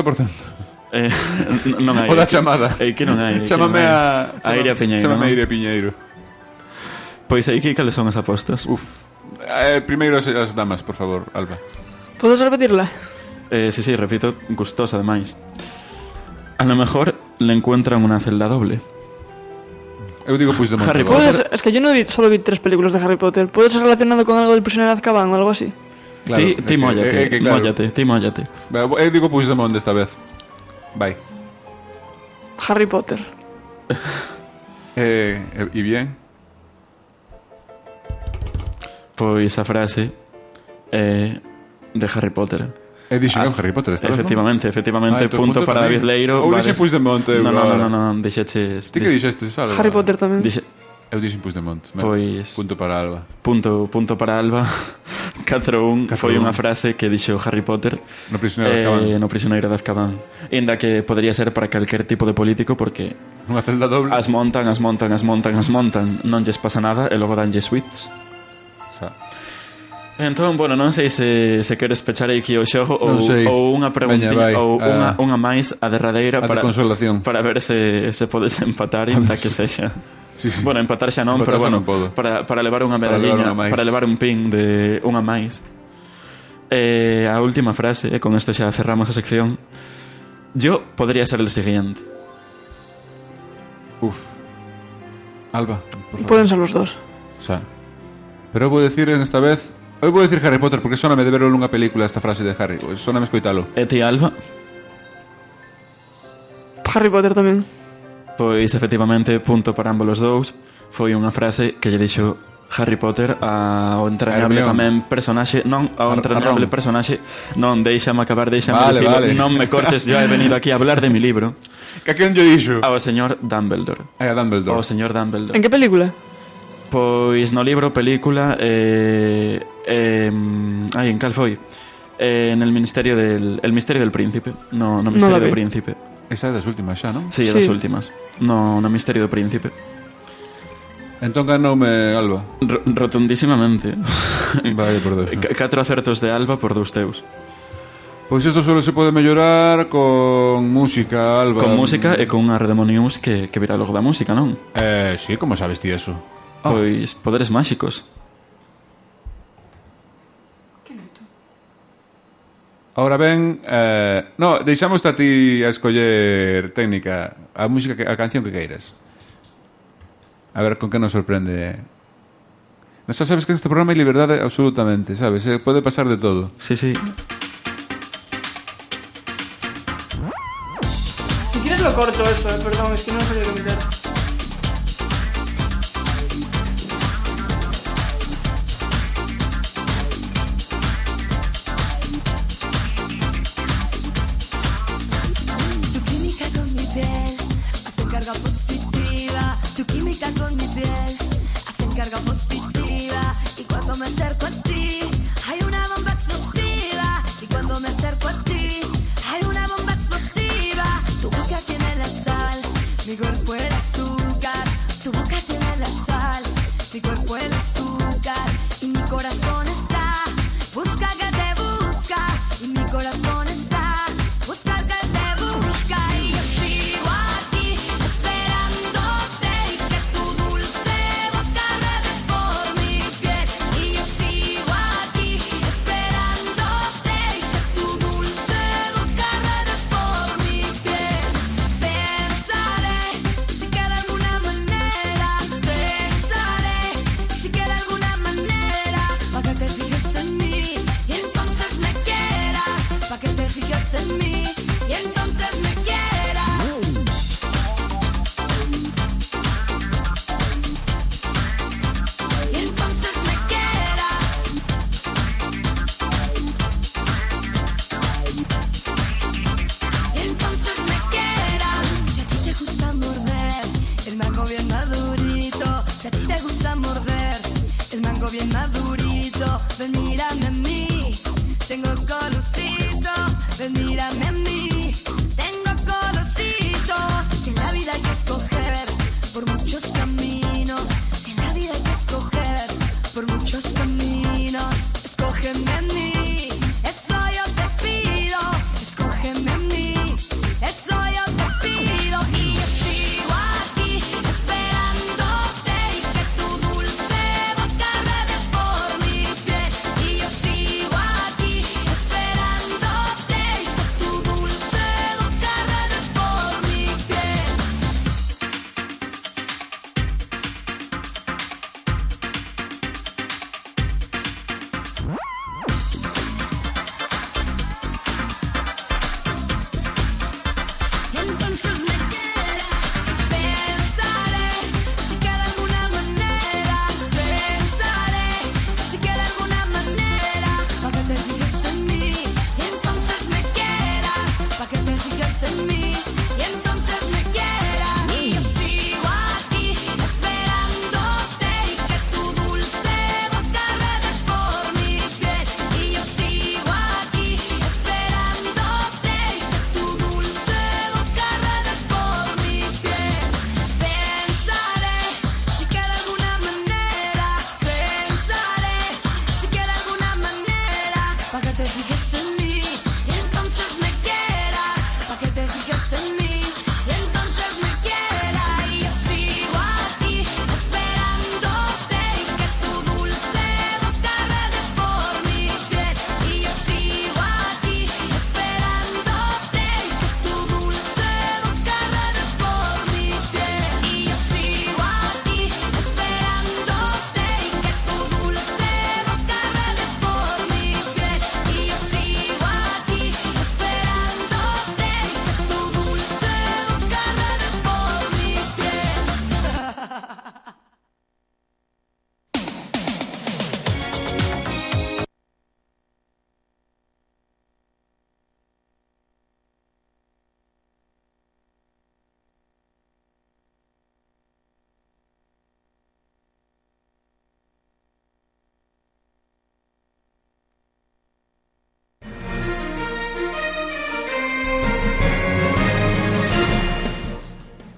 [SPEAKER 2] eh, n- non hai.
[SPEAKER 1] O da chamada.
[SPEAKER 2] Eh, que non hai. que
[SPEAKER 1] Chámame
[SPEAKER 2] non hai.
[SPEAKER 1] a...
[SPEAKER 2] A Iria Piñeiro.
[SPEAKER 1] Chámame a
[SPEAKER 2] non?
[SPEAKER 1] Iria Piñeiro.
[SPEAKER 2] Pois aí que cales Pues son as apostas?
[SPEAKER 1] Uf. Eh, primeiro as, as damas, por favor, Alba.
[SPEAKER 3] ¿Puedes repetirla?
[SPEAKER 2] Eh, sí, sí, repito, gustosa ademais. A lo mejor le encuentran una celda doble.
[SPEAKER 1] Eu digo Puigdemont.
[SPEAKER 2] Harry
[SPEAKER 1] agora.
[SPEAKER 3] Puedes, es que yo no vi, solo vi tres películas de Harry Potter. ¿Puede ser relacionado con algo del prisionero de Azkaban o algo así?
[SPEAKER 1] Claro,
[SPEAKER 2] ti,
[SPEAKER 1] é
[SPEAKER 2] ti
[SPEAKER 1] que-
[SPEAKER 2] móllate,
[SPEAKER 1] é que claro.
[SPEAKER 2] móllate, ti móllate.
[SPEAKER 1] Va, Eu digo Puigdemont desta vez. Vai.
[SPEAKER 3] Harry Potter.
[SPEAKER 1] Eh, eh, e bien?
[SPEAKER 2] Pois a Pues frase eh, de Harry Potter.
[SPEAKER 1] E dixen ah, Harry Potter esta vez, non?
[SPEAKER 2] Efectivamente, efectivamente,
[SPEAKER 1] Ah, entón,
[SPEAKER 2] punto
[SPEAKER 1] punto
[SPEAKER 2] para
[SPEAKER 1] para
[SPEAKER 2] David
[SPEAKER 1] mí.
[SPEAKER 2] Leiro.
[SPEAKER 1] Ou
[SPEAKER 2] Vades-
[SPEAKER 1] dixen Puigdemont, eu
[SPEAKER 2] Non, non, non,
[SPEAKER 1] agora.
[SPEAKER 2] non, non, dixeches...
[SPEAKER 1] Ti que dixestes, Alba?
[SPEAKER 3] Harry Potter tamén.
[SPEAKER 2] Dixe,
[SPEAKER 1] Eu dixen Puigdemont. Ben,
[SPEAKER 2] Pois-
[SPEAKER 1] Punto para Alba.
[SPEAKER 2] punto, punto para Alba 4-1 foi
[SPEAKER 1] 4-1.
[SPEAKER 2] unha frase que dixo Harry Potter eh,
[SPEAKER 1] No prisionero de Azkaban.
[SPEAKER 2] no prisioneiro de Azkaban Inda que podría ser para calquer tipo de político porque
[SPEAKER 1] Unha celda doble.
[SPEAKER 2] as montan, as montan, as montan, as montan non lles pasa nada e logo danlle suites
[SPEAKER 1] O sea,
[SPEAKER 2] Entón, bueno, non sei se, se queres pechar aquí o xogo ou,
[SPEAKER 1] Non sei.
[SPEAKER 2] ou unha preguntinha
[SPEAKER 1] Veña, vai,
[SPEAKER 2] ou
[SPEAKER 1] a-
[SPEAKER 2] unha, unha máis a derradeira
[SPEAKER 1] a de
[SPEAKER 2] para,
[SPEAKER 1] consolación.
[SPEAKER 2] para ver se, se podes empatar inda que sexa
[SPEAKER 1] Sí, sí.
[SPEAKER 2] Bueno, empatar xa non,
[SPEAKER 1] Empatar
[SPEAKER 2] pero
[SPEAKER 1] xa
[SPEAKER 2] bueno,
[SPEAKER 1] non podo.
[SPEAKER 2] para, para levar unha
[SPEAKER 1] Para levar
[SPEAKER 2] medalliña,
[SPEAKER 1] unha máis.
[SPEAKER 2] para levar un pin de unha máis. Eh, a última frase, e con esta xa cerramos a sección. Yo podría ser el siguiente.
[SPEAKER 1] Uf. Alba, por favor.
[SPEAKER 3] Pueden ser los dos.
[SPEAKER 1] O sea, pero eu vou decir en esta vez... Eu vou decir Harry Potter porque soname de verlo nunha película esta frase de Harry. Soname escoitalo.
[SPEAKER 2] E ti, Alba?
[SPEAKER 3] Harry Potter tamén.
[SPEAKER 2] Pois, efectivamente, punto para ambos os dous Foi unha frase que lle dixo Harry Potter ao entrañable
[SPEAKER 1] Hermione.
[SPEAKER 2] tamén personaxe Non, ao
[SPEAKER 1] A- a
[SPEAKER 2] entrañable
[SPEAKER 1] Ron.
[SPEAKER 2] personaxe Non, deixame acabar, deixame
[SPEAKER 1] Vale,
[SPEAKER 2] dicilo
[SPEAKER 1] vale.
[SPEAKER 2] Non me cortes, yo he venido aquí a hablar de mi libro
[SPEAKER 1] Que a quen lle dixo?
[SPEAKER 2] Ao señor Dumbledore
[SPEAKER 1] Ai, a Dumbledore.
[SPEAKER 2] Ao señor Dumbledore
[SPEAKER 3] ¿En qué película?
[SPEAKER 2] Pois no libro, película eh, eh, Ai, en cal foi? Eh, en el Ministerio del... El Misterio del Príncipe No, no Misterio
[SPEAKER 3] la
[SPEAKER 2] do
[SPEAKER 3] vi.
[SPEAKER 2] Príncipe
[SPEAKER 1] Esa é das últimas xa, non?
[SPEAKER 2] Sí, sí.
[SPEAKER 3] Sí.
[SPEAKER 2] das últimas No, no Misterio do Príncipe
[SPEAKER 1] Entón ganoume Alba.
[SPEAKER 2] R Rotundísimamente
[SPEAKER 1] Vale, por Deus.
[SPEAKER 2] C- Catro acertos de Alba por dous teus
[SPEAKER 1] Pois isto solo se pode mellorar con música, Alba.
[SPEAKER 2] Con música e con unha Redemonius que, que virá logo da música, non?
[SPEAKER 1] Eh, sí, como sabes ti eso?
[SPEAKER 2] Pois poderes máxicos
[SPEAKER 1] Ahora ben, eh, no, deixamos a ti a escoller técnica, a música, que, a canción que queiras. A ver con que nos sorprende. Nos xa sabes que neste programa hai liberdade absolutamente, sabes? Eh, pode pasar de todo.
[SPEAKER 2] Sí, sí
[SPEAKER 3] Si quieres lo corto esto, eh, perdón, es que no sabía lo que era.
[SPEAKER 9] Tu química con mi piel hace carga positiva. Tu química con mi piel hace carga positiva. Y cuando me acerco a ti, hay una bomba explosiva. Y cuando me acerco a ti, hay una bomba explosiva. Tu boca tiene la sal, mi cuerpo el azúcar. Tu boca tiene la sal, mi cuerpo el azúcar. Y mi corazón está, busca que te busca. Y mi corazón está, busca que te busca. Y yo sigo aquí, esperándote. Y que tu dulce boca ruede por mi piel. Y yo sigo aquí, esperándote. Y que tu dulce boca ruede por mi piel. Pensaré si queda alguna manera. Pensaré si queda alguna manera. Pa' que te fijes en mí y entonces me quieras. Pa' que te fijes en mí y entonces me quieras. Y entonces me quieras. entonces me quieras. Si a ti te gusta morder el mango bien madurito, si a ti te gusta morder el mango bien madurito, ven mírame a mí, tengo colorcito, ven mírame a mí, tengo colorcito. Si en la vida hay que escoger por muchos caminos, si en la vida hay que escoger por muchos caminos, escógeme a mí, eso yo te pido, escógeme a mí, eso yo te pido y yo sigo aquí esperándote y que tu dulce boca ruede por mi piel y yo sigo aquí esperándote y que tu dulce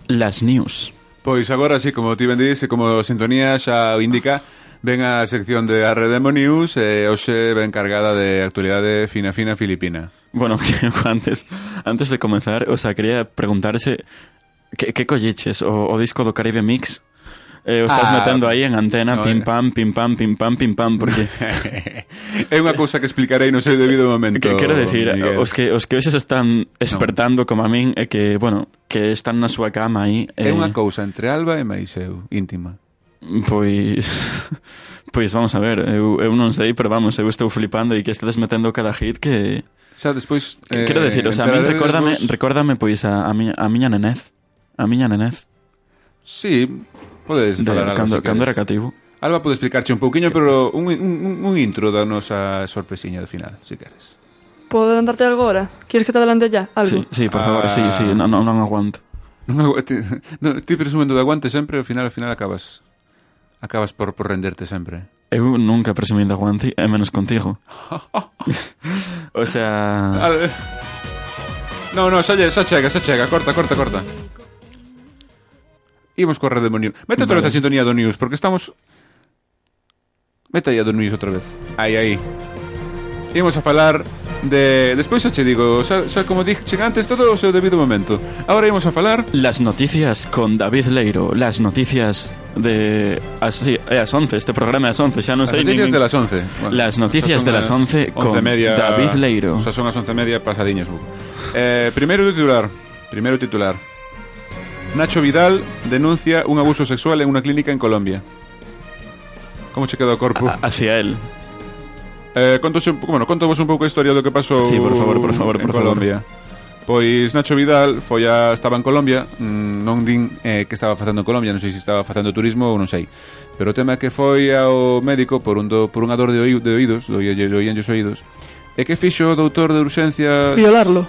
[SPEAKER 2] las news.
[SPEAKER 1] Pois agora, así como ti ben dís e como a sintonía xa o indica, ven a sección de Arredemo News e hoxe ben cargada de actualidade fina fina filipina.
[SPEAKER 2] Bueno, creo que antes, antes de comenzar, o sea, quería preguntarse que, que colleches o, o disco do Caribe Mix eh, o estás
[SPEAKER 1] Ah,
[SPEAKER 2] metendo aí en antena,
[SPEAKER 1] no, eh.
[SPEAKER 2] pim pam, pim pam, pim pam, pim pam, porque
[SPEAKER 1] é unha cousa que explicarei no seu debido momento.
[SPEAKER 2] que, quero decir,
[SPEAKER 1] Miguel.
[SPEAKER 2] os que os que hoxe se están despertando como a min é que, bueno, que están na súa cama aí
[SPEAKER 1] É
[SPEAKER 2] eh,
[SPEAKER 1] unha cousa entre Alba e Maiseu, íntima.
[SPEAKER 2] Pois Pois vamos a ver, eu, eu non sei, pero vamos, eu estou flipando e que estades metendo cada hit que
[SPEAKER 1] Xa despois...
[SPEAKER 2] eh, Quero decir, o sea, a min
[SPEAKER 1] entraremos-
[SPEAKER 2] recórdame, recórdame pois a, a, miña, a miña nenez A miña nenez
[SPEAKER 1] Sí, podes
[SPEAKER 2] de,
[SPEAKER 1] falar algo,
[SPEAKER 2] cando,
[SPEAKER 1] se
[SPEAKER 2] cando era
[SPEAKER 1] queres.
[SPEAKER 2] cativo
[SPEAKER 1] Alba pode explicarche un pouquiño, pero un, un, un intro da nosa sorpresiña do final, se queres.
[SPEAKER 3] ¿Puedo adelantarte algo ahora? ¿Quieres que te adelante ya? Algo.
[SPEAKER 2] Sí, sí, por
[SPEAKER 1] Ah.
[SPEAKER 2] favor, sí, sí, non, non, non aguanto
[SPEAKER 1] Non agu- ti, no, ti presumendo de aguante sempre, ao final ao final acabas acabas por, por renderte sempre.
[SPEAKER 2] Eu nunca presumí de aguante, e menos contigo O sea,
[SPEAKER 1] Al- No, no, xa, lle- xa chega, xa chega, corta, corta, corta. Imos co Red News. Mete outra
[SPEAKER 2] Vale.
[SPEAKER 1] vez a sintonía do News, porque estamos... Mete aí a do News outra vez. Aí, aí. Imos a falar de... Despois xa che digo, xa, xa como dixen antes, todo o seu debido momento. Agora imos a falar
[SPEAKER 2] las noticias con David Leiro Las noticias de... As, sí, é as 11, este programa é as 11, xa non
[SPEAKER 1] As
[SPEAKER 2] sei
[SPEAKER 1] noticias
[SPEAKER 2] nin-
[SPEAKER 1] de las 11. Bueno,
[SPEAKER 2] Las noticias
[SPEAKER 1] esas son
[SPEAKER 2] de las 11 con David Leiro.
[SPEAKER 1] O sea, son las 11 media pasadiñas. bu. Eh, primeiro titular. Primeiro titular. Nacho Vidal denuncia un abuso sexual en una clínica en Colombia. Como che queda o corpo?
[SPEAKER 2] a- Hacia él
[SPEAKER 1] Eh, contos un, bueno, contovos un pouco a historia do que pasou
[SPEAKER 2] Sí, por favor, por favor,
[SPEAKER 1] en
[SPEAKER 2] por favor.
[SPEAKER 1] Colombia. Pois Nacho Vidal foi a, estaba en Colombia mm, Non din eh, que estaba facendo en Colombia Non sei se estaba facendo turismo ou non sei Pero o tema é que foi ao médico Por, un do, por unha dor de, oí, de oídos Doían do, os oídos E que fixo o doutor de urxencia
[SPEAKER 3] Violarlo.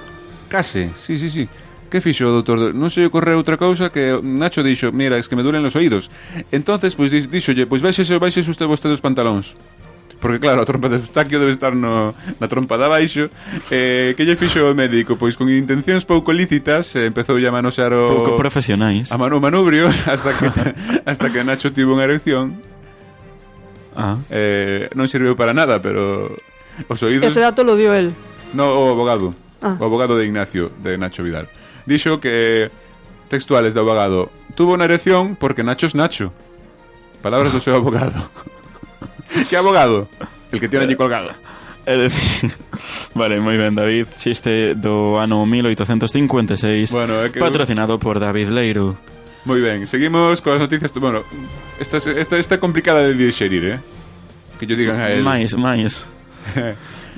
[SPEAKER 1] Case, sí, sí, sí. Que fixo o doutor? Non se lle ocorreu outra cousa que Nacho dixo, mira, es que me duelen los oídos. Entonces, pois pues, dixolle, pois pues, baixese, baixese usted vostede os pantalóns. Porque claro, a trompa de Eustaquio debe estar no, na trompa de abaixo eh, Que lle fixo o médico? Pois con intencións pouco lícitas eh, Empezou a manosear o...
[SPEAKER 2] Pouco profesionais
[SPEAKER 1] A manu manubrio Hasta que, hasta que Nacho tivo unha erección
[SPEAKER 2] ah.
[SPEAKER 1] eh, Non serviu para nada, pero Os oídos
[SPEAKER 3] Ese dato lo dio él.
[SPEAKER 1] No, o abogado.
[SPEAKER 3] Ah.
[SPEAKER 1] O abogado de Ignacio, de Nacho Vidal. Dixo que textuales de abogado. Tuvo una erección porque Nacho es Nacho. Palabras de su abogado. ¿Qué abogado? El que tiene allí colgado.
[SPEAKER 2] É dicir, vale, moi ben, David, chiste do ano 1856,
[SPEAKER 1] Bueno, é que-
[SPEAKER 2] patrocinado por David Leiro.
[SPEAKER 1] Muy bien, seguimos con las noticias. Bueno, esta, es- esta está complicada de digerir, ¿eh? Que yo eh, digan a él.
[SPEAKER 2] Mais, mais.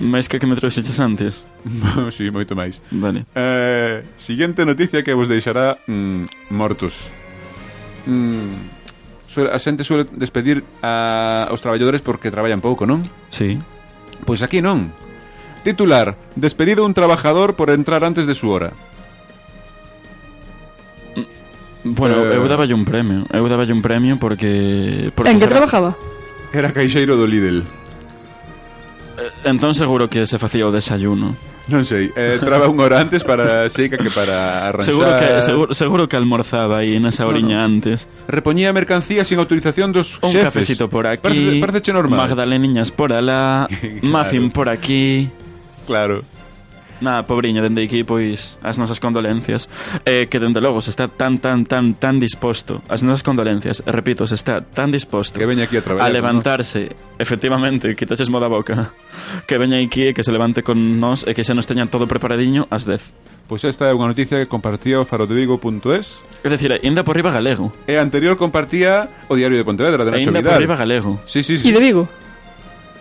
[SPEAKER 2] mais que que me trouxeches antes.
[SPEAKER 1] sí, moito máis.
[SPEAKER 2] Vale.
[SPEAKER 1] Eh, siguiente noticia que vos deixará mm, mortos. Mm, suele, a xente suele despedir a, aos traballadores porque traballan pouco, non?
[SPEAKER 2] Sí.
[SPEAKER 1] Pois aquí non. Titular, despedido un trabajador por entrar antes de su hora.
[SPEAKER 2] Bueno,
[SPEAKER 1] Eh.
[SPEAKER 2] eu daballe un premio. Eu daballe un premio porque... porque
[SPEAKER 3] ¿En qué
[SPEAKER 2] será-
[SPEAKER 3] trabajaba?
[SPEAKER 1] Era caixeiro do Lidl.
[SPEAKER 2] Entón seguro que se facía o desayuno.
[SPEAKER 1] Non sei, eh, traba unha hora antes para Xeica que para arranxar.
[SPEAKER 2] Seguro que, seguro, seguro que almorzaba aí nesa oriña antes.
[SPEAKER 1] Repoñía mercancía sin autorización dos
[SPEAKER 2] Un
[SPEAKER 1] xefes.
[SPEAKER 2] cafecito por aquí.
[SPEAKER 1] Parece, parece normal.
[SPEAKER 2] Magdaleniñas por alá.
[SPEAKER 1] Claro.
[SPEAKER 2] Muffin por aquí.
[SPEAKER 1] Claro.
[SPEAKER 2] Nada, pobriña, dende aquí, pois, as nosas condolencias eh, Que, dende logo, se está tan, tan, tan, tan disposto As nosas condolencias, e repito, se está tan disposto
[SPEAKER 1] Que veña aquí a traballar,
[SPEAKER 2] A levantarse, efectivamente, quitaches moda boca Que veña aquí e que se levante con nós E que xa nos teñan todo preparadiño ás 10
[SPEAKER 1] Pois esta é unha noticia que compartía o farodeigo.es
[SPEAKER 2] É dicir, ainda por riba galego
[SPEAKER 1] E anterior compartía o Diario de Pontevedra de Nacho
[SPEAKER 2] Ainda
[SPEAKER 1] Vidal.
[SPEAKER 2] por riba galego
[SPEAKER 1] Sí, sí, sí.
[SPEAKER 3] Y de Vigo.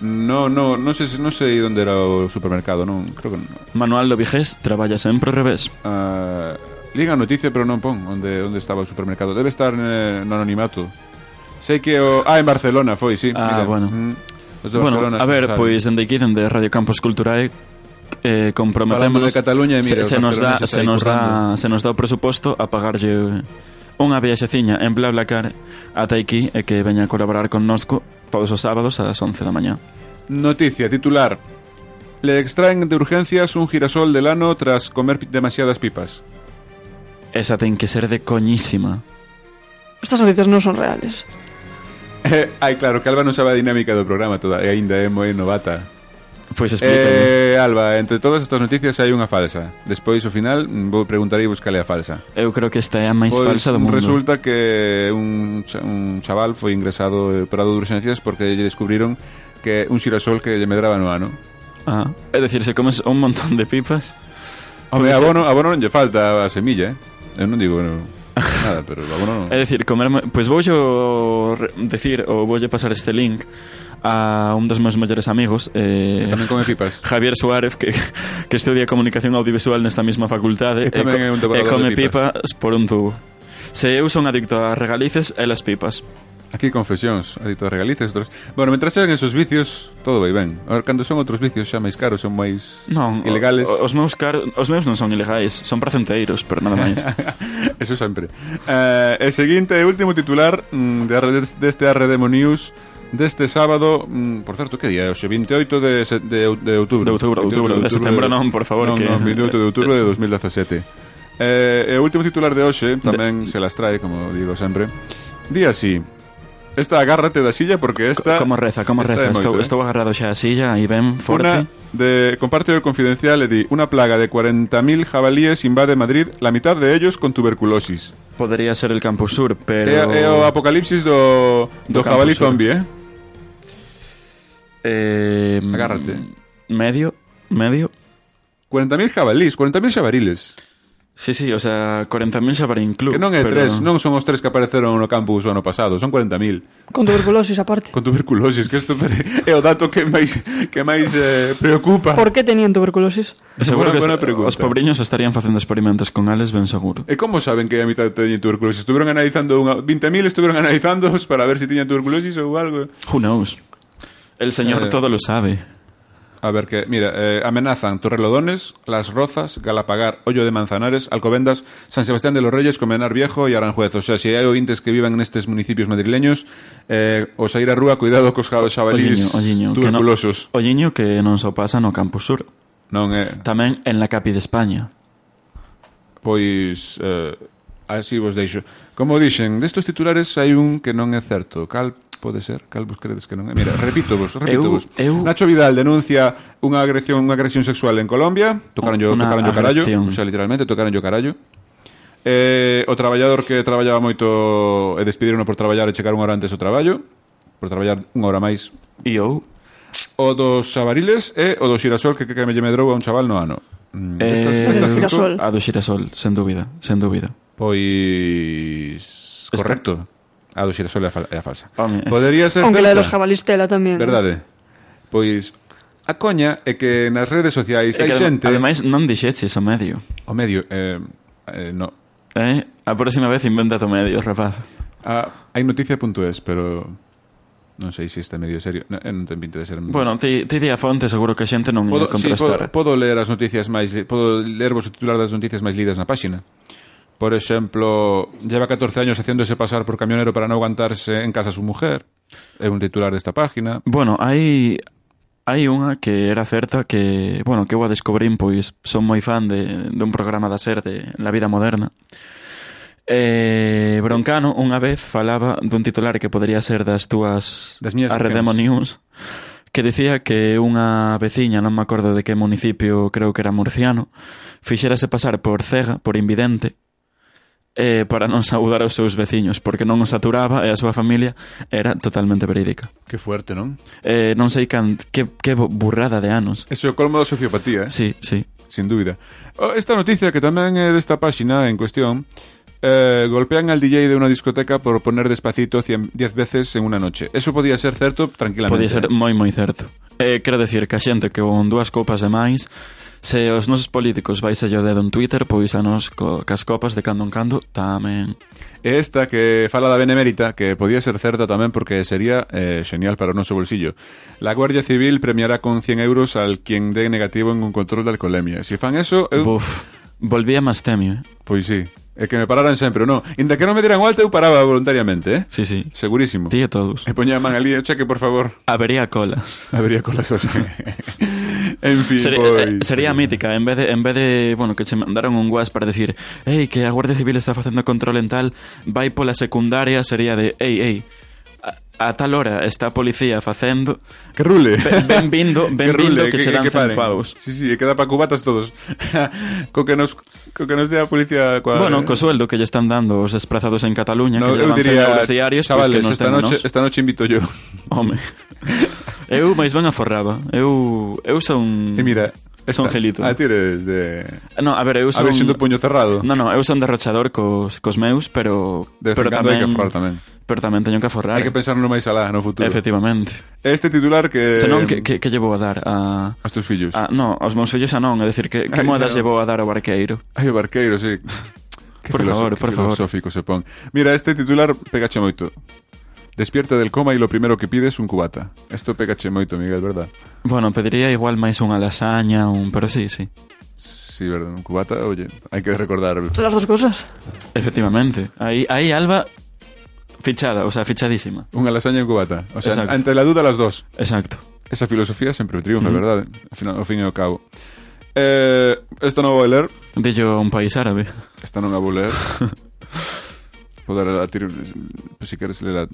[SPEAKER 1] No, no, non sei, non sei onde era o supermercado, non, creo que non.
[SPEAKER 2] Manuel do Vigés traballa sempre ao revés
[SPEAKER 1] Ah, liga a noticia, pero non pon onde onde estaba o supermercado. Debe estar eh, no anonimato. Sei que o ah, en Barcelona foi, sí.
[SPEAKER 2] Ah, bueno.
[SPEAKER 1] Mm, Os de
[SPEAKER 2] Bueno,
[SPEAKER 1] Barcelona,
[SPEAKER 2] a
[SPEAKER 1] sí,
[SPEAKER 2] ver,
[SPEAKER 1] sabe.
[SPEAKER 2] pues, pois dende aquí, dende Radio Campos Culturae eh, comprometemos
[SPEAKER 1] Falando de Cataluña, e mira,
[SPEAKER 2] se, se
[SPEAKER 1] os
[SPEAKER 2] nos dá
[SPEAKER 1] barceloneses
[SPEAKER 2] se
[SPEAKER 1] aí
[SPEAKER 2] nos dá
[SPEAKER 1] currando.
[SPEAKER 2] se nos dá o presuposto a pagarlle unha viaxeciña en BlaBlaCar ata aquí e que veña a colaborar connosco todos os sábados ás 11 da mañá.
[SPEAKER 1] Noticia titular. Le extraen de urgencias un girasol del ano tras comer pi- demasiadas pipas.
[SPEAKER 2] Esa ten que ser de coñísima.
[SPEAKER 3] Estas noticias non son reales.
[SPEAKER 1] Ai, claro, que Alba non sabe a dinámica do programa toda, e aínda é moi novata.
[SPEAKER 2] Pois
[SPEAKER 1] Eh,
[SPEAKER 2] explícame.
[SPEAKER 1] Alba, entre todas estas noticias hai unha falsa. Despois, ao final, mm, vou preguntarei e buscarle a falsa. Pues
[SPEAKER 2] Eu creo que esta é a máis falsa do mundo.
[SPEAKER 1] resulta que un, cha- un chaval foi ingresado eh, operado de urxencias porque lle descubriron que un xirasol que lle medraba no ano.
[SPEAKER 2] Ah, é dicir, se comes un montón de pipas...
[SPEAKER 1] Home,
[SPEAKER 2] Pode ser.
[SPEAKER 1] abono, abono non lle falta a semilla, eh? Eu non digo no, nada, pero abono non.
[SPEAKER 2] É dicir, comer... mo- Pois vou decir, ou voulle pasar este link a un dos meus mellores amigos, eh,
[SPEAKER 1] Tamén come pipas.
[SPEAKER 2] Javier Suárez, que, que estudia comunicación audiovisual nesta mesma facultade
[SPEAKER 1] E tamén é un
[SPEAKER 2] e
[SPEAKER 1] devorador
[SPEAKER 2] come
[SPEAKER 1] de pipas.
[SPEAKER 2] pipas por un tubo. Se eu son adicto a regalices, elas pipas.
[SPEAKER 1] Aquí confesións, adito regalices outros. Bueno, mentras sean esos vicios, todo vai ben. A ver, cando son outros vicios xa máis caros, son máis
[SPEAKER 2] Non,
[SPEAKER 1] ilegales.
[SPEAKER 2] o- Os meus, car... os meus non son ilegais, son placenteiros, pero nada máis.
[SPEAKER 1] Eso sempre. Eh, e seguinte e último titular mm, de RD deste RDMO News deste sábado, mm, por certo, que día? é Hoxe 28 de, se- de, ou- de outubro.
[SPEAKER 2] De outubro, outubro, de setembro non, por favor,
[SPEAKER 1] Non,
[SPEAKER 2] que-
[SPEAKER 1] non, 28 de outubro de 2017. Eh, e o último titular de hoxe, tamén se las trae, como digo sempre. Di así. Esta agárrate da silla porque esta...
[SPEAKER 2] como reza, como
[SPEAKER 1] esta é
[SPEAKER 2] reza.
[SPEAKER 1] moito,
[SPEAKER 2] estou,
[SPEAKER 1] eh?
[SPEAKER 2] estou agarrado xa a silla e ben
[SPEAKER 1] Una
[SPEAKER 2] forte.
[SPEAKER 1] de, comparte o confidencial e di Una plaga de 40.000 jabalíes invade Madrid La mitad de ellos con tuberculosis
[SPEAKER 2] Podría ser el Campus Sur, pero...
[SPEAKER 1] É, é o apocalipsis do, do,
[SPEAKER 2] Do
[SPEAKER 1] jabalí
[SPEAKER 2] Campus Sur.
[SPEAKER 1] zombie, eh?
[SPEAKER 2] Eh,
[SPEAKER 1] Agárrate.
[SPEAKER 2] Medio, medio.
[SPEAKER 1] 40.000 jabalís, 40.000 xabariles
[SPEAKER 2] Sí, sí, o sea, 40.000 xa para incluir.
[SPEAKER 1] Que non é tres, non son os tres que apareceron no campus o ano pasado Son 40.000
[SPEAKER 3] Con tuberculosis aparte.
[SPEAKER 1] Con tuberculosis, que isto é o dato que máis, que máis eh, preocupa
[SPEAKER 3] Por que tenían tuberculosis?
[SPEAKER 1] Buena-
[SPEAKER 2] Seguro que
[SPEAKER 1] buena
[SPEAKER 2] est-
[SPEAKER 1] pregunta.
[SPEAKER 2] os pobriños estarían facendo experimentos con eles, ben seguro.
[SPEAKER 1] E como saben que a mitad teñen tuberculosis? Estuvieron analizando unha... 20.000 estuvieron analizándoos para ver se si tiñan tuberculosis ou algo
[SPEAKER 2] Who knows? El señor
[SPEAKER 1] Eh,
[SPEAKER 2] todo lo sabe.
[SPEAKER 1] A ver que, mira, eh, amenazan Torrelodones, Las Rozas, Galapagar, Hoyo de Manzanares, Alcobendas, San Sebastián de los Reyes, Comenar Viejo y Aranjuez. O sea, si hai ointes que vivan nestes municipios madrileños, eh, o sair a rúa, cuidado cos ja-
[SPEAKER 2] Olliño,
[SPEAKER 1] xabalís
[SPEAKER 2] olliño, que non,
[SPEAKER 1] tuberculosos.
[SPEAKER 2] olliño que non só pasa no Campus Sur,
[SPEAKER 1] Non eh, é...
[SPEAKER 2] tamén en la capi de España.
[SPEAKER 1] Pois... Eh, así vos deixo. Como dixen, destos titulares hai un que non é certo. Cal pode ser? Cal vos credes que non é? Mira, repito vos, repito vos.
[SPEAKER 2] eu-
[SPEAKER 1] Nacho Vidal denuncia unha agresión, unha agresión sexual en Colombia. Tocaron yo,
[SPEAKER 2] Una
[SPEAKER 1] tocaron yo carallo.
[SPEAKER 2] agresión.
[SPEAKER 1] O sea, literalmente, tocaron yo carallo. Eh, o traballador que traballaba moito e despidírono por traballar e checar unha hora antes o traballo por traballar unha hora máis
[SPEAKER 2] E eu,
[SPEAKER 1] o dos xabariles e o do xirasol que, que, que me lle medrou a un chaval no ano Mm,
[SPEAKER 2] Eh,
[SPEAKER 3] Estas
[SPEAKER 1] cinco-
[SPEAKER 3] girasol.
[SPEAKER 2] a do Xirasol, sen dúbida, sen dúbida.
[SPEAKER 1] Pois...
[SPEAKER 2] Está-
[SPEAKER 1] Correcto. A do xirasol é a, fal é a falsa.
[SPEAKER 2] Home.
[SPEAKER 1] Podería ser
[SPEAKER 3] Aunque la de
[SPEAKER 1] certa.
[SPEAKER 3] los jabalís tela tamén.
[SPEAKER 1] Verdade. Pois... A coña é que nas redes sociais
[SPEAKER 2] E
[SPEAKER 1] hai
[SPEAKER 2] que,
[SPEAKER 1] xente...
[SPEAKER 2] Ademais, non dixeches o medio.
[SPEAKER 1] O medio... Eh, eh, no.
[SPEAKER 2] Eh? A próxima vez inventa o medio, rapaz.
[SPEAKER 1] A, hai noticia.es, pero... Non sei se este medio serio. Non, eh, non ten pinta de ser...
[SPEAKER 2] Bueno, ti, ti di a fonte, seguro que a xente non ia
[SPEAKER 1] Podo, sí, podo,
[SPEAKER 2] contrastar.
[SPEAKER 1] podo ler as noticias máis podo ler vos o titular das noticias máis lidas na páxina. Por exemplo, lleva 14 años haciéndose pasar por camionero para no aguantarse en casa a su mujer. É un titular desta página.
[SPEAKER 2] Bueno, hai hai unha que era certa que, bueno, que eu a descubrín, pois son moi fan de, dun programa da SER de La Vida Moderna. Eh, Broncano unha vez falaba dun titular que podería ser das túas
[SPEAKER 1] Das miñas
[SPEAKER 2] Arredemo
[SPEAKER 1] seccións.
[SPEAKER 2] News que dicía que unha veciña, non me acordo de que municipio, creo que era murciano, fixérase pasar por cega, por invidente, eh, para non saudar aos seus veciños, porque non os saturaba e a súa familia era totalmente verídica.
[SPEAKER 1] Que fuerte, non?
[SPEAKER 2] Eh, non sei can, que, que bo- burrada de anos.
[SPEAKER 1] Eso é o colmo da sociopatía, eh?
[SPEAKER 2] Sí, sí.
[SPEAKER 1] sin dúbida. O- Esta noticia que tamén é desta páxina en cuestión eh, golpean al DJ de unha discoteca por poner despacito 100 10 veces en unha noche. Eso podía ser certo tranquilamente.
[SPEAKER 2] Podía ser moi moi certo. Eh, quero decir que a xente que con dúas copas de máis Se os nosos políticos vais a o dedo en Twitter, pois a nos co, cas copas de cando en cando tamén.
[SPEAKER 1] E esta que fala da Benemérita, que podía ser certa tamén porque sería eh, xenial para o noso bolsillo. La Guardia Civil premiará con 100 euros al quien dé negativo en un control de alcolemia. Si fan eso, eu...
[SPEAKER 2] Buf, volvía máis temio. eh.
[SPEAKER 1] Pois sí. E que me pararan sempre, non. Inda que non me diran o alto, eu paraba voluntariamente, eh?
[SPEAKER 2] Sí, sí.
[SPEAKER 1] Segurísimo.
[SPEAKER 2] Ti e todos.
[SPEAKER 1] E poñía a man ali, cheque, por favor.
[SPEAKER 2] Habería colas.
[SPEAKER 1] Abriría con las osas. en fin,
[SPEAKER 2] Sería,
[SPEAKER 1] pois...
[SPEAKER 2] eh, sería mítica, en vez de, en vez de bueno, que che mandaron un guas para decir Ei, que a Guardia Civil está facendo control en tal Vai pola secundaria, sería de Ei, ei, a, a tal hora está a policía facendo
[SPEAKER 1] Que rule.
[SPEAKER 2] Ben- benvindo- benvindo que che dan cen
[SPEAKER 1] paren.
[SPEAKER 2] paus.
[SPEAKER 1] Sí, sí, e queda para cubatas todos. co que nos co que nos dé a policía coa
[SPEAKER 2] Bueno, co sueldo que lle están dando os desplazados en Cataluña
[SPEAKER 1] No,
[SPEAKER 2] Que
[SPEAKER 1] eu
[SPEAKER 2] llevan
[SPEAKER 1] diría,
[SPEAKER 2] diría, diarios pois
[SPEAKER 1] chavales,
[SPEAKER 2] que nos
[SPEAKER 1] esta
[SPEAKER 2] den a
[SPEAKER 1] noche,
[SPEAKER 2] nós".
[SPEAKER 1] esta noche invito yo.
[SPEAKER 2] Home Eu máis ben aforraba Eu, eu son...
[SPEAKER 1] E mira,
[SPEAKER 2] Es un Pues gelito.
[SPEAKER 1] Ah, tires de
[SPEAKER 2] No, a ver, eu
[SPEAKER 1] A
[SPEAKER 2] son...
[SPEAKER 1] ver, xente puño cerrado.
[SPEAKER 2] No, no, eu son derrochador cos, cos meus, pero...
[SPEAKER 1] De vez
[SPEAKER 2] pero
[SPEAKER 1] en cando hai que aforrar tamén.
[SPEAKER 2] Pero tamén teño que aforrar.
[SPEAKER 1] Hai que pensar no máis alá, no futuro. Eh,
[SPEAKER 2] Efectivamente.
[SPEAKER 1] Este titular que
[SPEAKER 2] Senón, que, Ah. que, que llevo a dar a...
[SPEAKER 1] As tus fillos.
[SPEAKER 2] a no, aos meus fillos a non, é dicir, que, que
[SPEAKER 1] Ai,
[SPEAKER 2] moedas
[SPEAKER 1] xa non.
[SPEAKER 2] llevo a dar ao barqueiro?
[SPEAKER 1] Ai, o barqueiro, sí. Que
[SPEAKER 2] Por
[SPEAKER 1] filoso-
[SPEAKER 2] favor,
[SPEAKER 1] que
[SPEAKER 2] por favor.
[SPEAKER 1] filosófico se pon. Mira, este titular pegache moito. Despierta del coma y lo primero que pides un cubata. Esto pegache moito, Miguel, verdad?
[SPEAKER 2] Bueno, pediría igual máis unha lasaña, un... Pero sí, sí.
[SPEAKER 1] Sí, verdad, un cubata, oye, hay que recordar.
[SPEAKER 3] Las dos cosas.
[SPEAKER 2] Efectivamente. Aí, aí Alba fichada, o sea, fichadísima.
[SPEAKER 1] Una lasaña y un cubata. O sea,
[SPEAKER 2] Exacto.
[SPEAKER 1] ante la duda las dos.
[SPEAKER 2] Exacto.
[SPEAKER 1] Esa filosofía siempre triunfa, verdad? Al final, ao fin e ao cabo. Eh, esta non a vou ler.
[SPEAKER 2] Dillo un país árabe.
[SPEAKER 1] Esta non a vou ler. Poder a tiro, pues, si queres lela.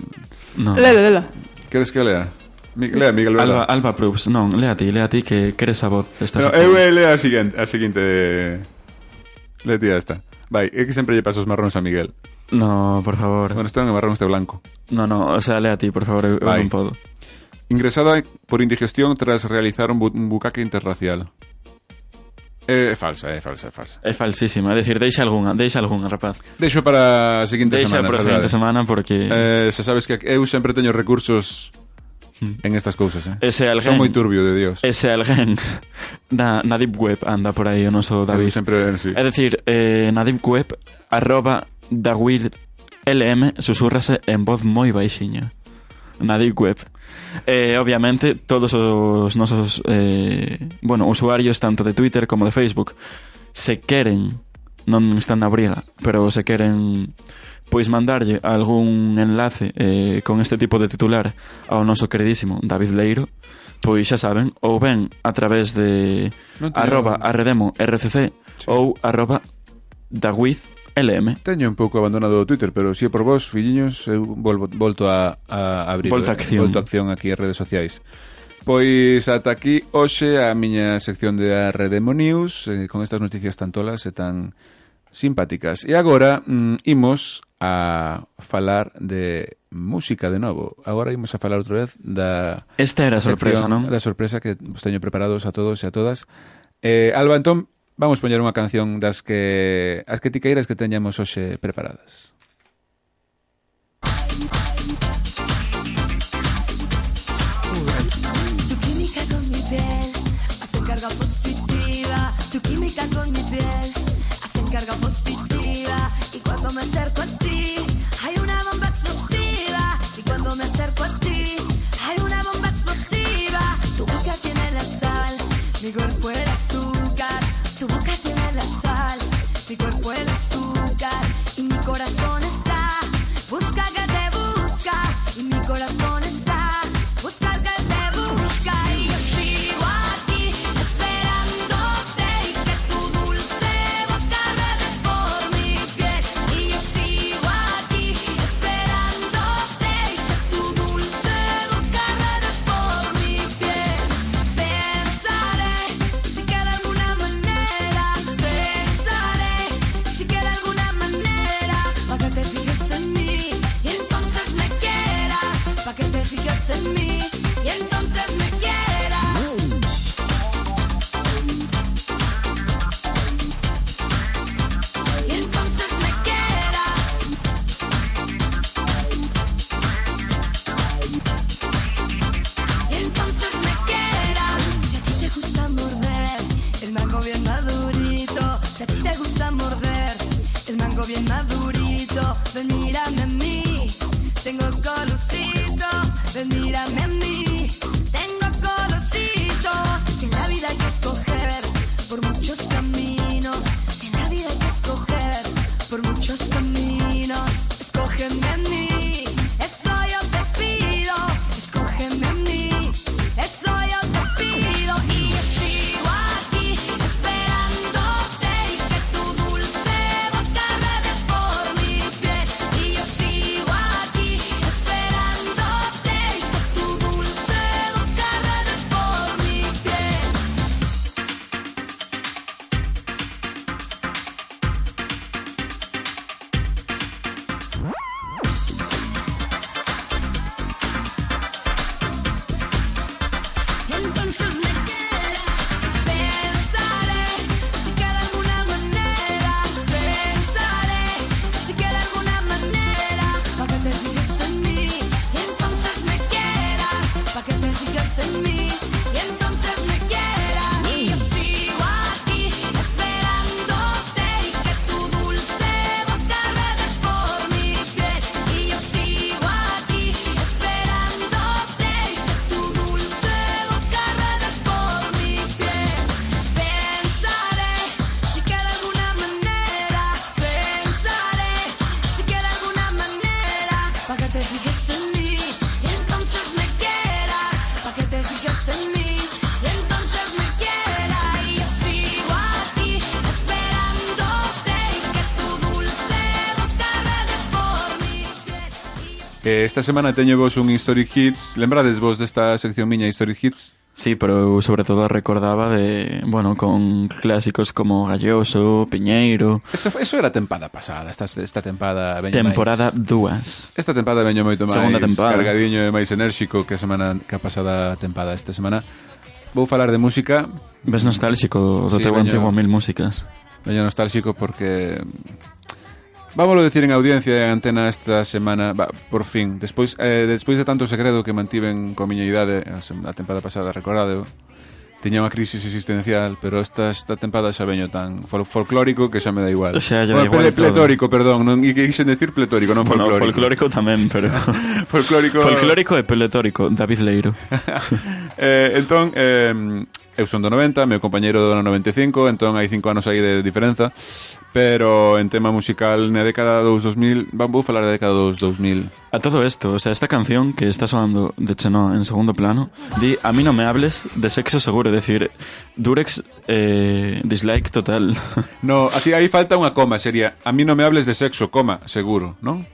[SPEAKER 2] No.
[SPEAKER 3] Lela, lela.
[SPEAKER 1] Queres que lea? Mi, lea, Miguel,
[SPEAKER 2] Alba,
[SPEAKER 1] verdad?
[SPEAKER 2] Alba Proofs. Non, lea ti, lea ti que queres a voz desta
[SPEAKER 1] No,
[SPEAKER 2] sección.
[SPEAKER 1] eu eh, leo a siguiente, a siguiente Le tía esta Vai, é que sempre lle paso os marróns a Miguel
[SPEAKER 2] No, por favor.
[SPEAKER 1] Bueno, este non é marrón, este é blanco
[SPEAKER 2] No, no, o sea, lea ti, por favor, eu, eu
[SPEAKER 1] Vai.
[SPEAKER 2] non podo.
[SPEAKER 1] Ingresada por indigestión tras realizar un, bu un bucaque interracial É falsa, é falsa, é falsa
[SPEAKER 2] É falsísima, é dicir, deixa algunha, deixa algunha, rapaz.
[SPEAKER 1] Deixo para a seguinte
[SPEAKER 2] Deixa
[SPEAKER 1] semana
[SPEAKER 2] para a seguinte semana porque
[SPEAKER 1] eh, Se sabes que eu sempre teño recursos En estas cousas, eh
[SPEAKER 2] Ese
[SPEAKER 1] Son
[SPEAKER 2] alguén-
[SPEAKER 1] moi turbio, de Dios
[SPEAKER 2] ese alguén na, na Deep Web anda por aí o
[SPEAKER 1] Eu
[SPEAKER 2] noso David.
[SPEAKER 1] sempre, sí.
[SPEAKER 2] É dicir, eh, na Deep Web arroba da Will LM susurrase en voz moi baixiña. Na Deep Web. Eh, obviamente, todos os nosos eh, bueno, usuarios tanto de Twitter como de Facebook se queren non están na briga, pero se queren pois mandarlle algún enlace eh, con este tipo de titular ao noso queridísimo David Leiro, pois xa saben, ou ben a través de
[SPEAKER 1] Non teño-
[SPEAKER 2] arroba arredemo rcc ou arroba dawiz lm.
[SPEAKER 1] Teño un pouco abandonado o Twitter, pero se é por vos, filliños, eu volvo, volto a, a abrir.
[SPEAKER 2] Volta a acción.
[SPEAKER 1] Volto a acción aquí as redes sociais. Pois ata aquí hoxe a miña sección de Arredemo News eh, con estas noticias tan tolas e tan simpáticas. E agora mm, imos a falar de música de novo. Agora imos a falar outra vez da
[SPEAKER 2] Esta era a sorpresa,
[SPEAKER 1] sección,
[SPEAKER 2] non?
[SPEAKER 1] Da sorpresa que vos teño preparados a todos e a todas. Eh, Alba, entón, vamos poñer unha canción das que as que ti queiras que teñamos hoxe preparadas.
[SPEAKER 9] Tu química con mi piel hacen carga positiva. Tu química con mi piel hacen carga positiva. Y cuando me acerco a ti, hay una bomba explosiva. Y cuando me acerco a ti, hay una bomba explosiva. Tu boca tiene la sal, mi cuerpo el azúcar. Tu boca tiene la sal, mi cuerpo el azúcar. Y mi corazón está, busca que te busca. Y mi corazón está, busca que te busca. Y yo sigo aquí, esperándote. Y que tu dulce boca ruede por mi piel. Y yo sigo aquí, esperándote. Y que tu dulce boca ruede por mi piel. Pensaré si queda alguna manera. Pensaré si queda alguna manera. Pa' que te fijes en mí y entonces me quieras. Pa' que te fijes en mí y entonces me quieras. Y entonces me quieras. Y entonces me quieras. Si a ti te gusta morder el mango bien madurito, si a ti te gusta morder el mango bien madurito, ven mírame a mí, tengo colorcito, ven mírame a mí, tengo colorcito. Si en la vida hay que escoger por muchos caminos, si en la vida hay que escoger por muchos te fijas en mí, y entonces me quieras. Pa' que te fijas en mí, y entonces me quieras. Y yo sigo aquí, esperándote, y que tu dulce boca vele por mi piel. Y yo
[SPEAKER 1] Eh, esta semana teño vos un History Hits. Lembrades vos desta sección miña History Hits?
[SPEAKER 2] Sí, pero eu sobre todo recordaba de, bueno, con clásicos como Galloso, Piñeiro,
[SPEAKER 1] Eso, eso era a tempada pasada, esta, esta tempada veño
[SPEAKER 2] temporada
[SPEAKER 1] máis-
[SPEAKER 2] 2.
[SPEAKER 1] Esta tempada veño moito máis
[SPEAKER 2] Segunda tempada.
[SPEAKER 1] cargadiño e máis enérxico que a semana que a pasada tempada esta semana. Vou falar de música,
[SPEAKER 2] Ves nostálxico do
[SPEAKER 1] Sí,
[SPEAKER 2] teu
[SPEAKER 1] veño-
[SPEAKER 2] antigo mil músicas.
[SPEAKER 1] veño nostálxico porque Vámoslo decir en audiencia e antena esta semana, va, por fin, despois eh, despois de tanto segredo que mantiven coa miña idade a sem- a tempada pasada, recordade, tiña unha crisis existencial, pero esta, esta tempada xa veño tan fol folclórico que xa me da igual.
[SPEAKER 2] Xa lle da
[SPEAKER 1] Bueno, ple-
[SPEAKER 2] igual todo.
[SPEAKER 1] pletórico, perdón, non que quixen decir pletórico, non
[SPEAKER 2] Bueno,
[SPEAKER 1] folclórico.
[SPEAKER 2] folclórico tamén, pero...
[SPEAKER 1] folclórico.
[SPEAKER 2] folclórico e peletórico, David Leiro.
[SPEAKER 1] eh, entón, eh, eu son do 90, meu compañeiro do ano 95, entón hai cinco anos aí de diferenza, pero en tema musical na década dos 2000, van- vou falar da década dos 2000.
[SPEAKER 2] A todo esto, o sea, esta canción que está sonando de Chenoa en segundo plano, di a mí no me hables de sexo seguro, es decir, Durex eh, dislike total.
[SPEAKER 1] No, aquí aí falta unha coma, sería a mí non me hables de sexo, coma, seguro, non?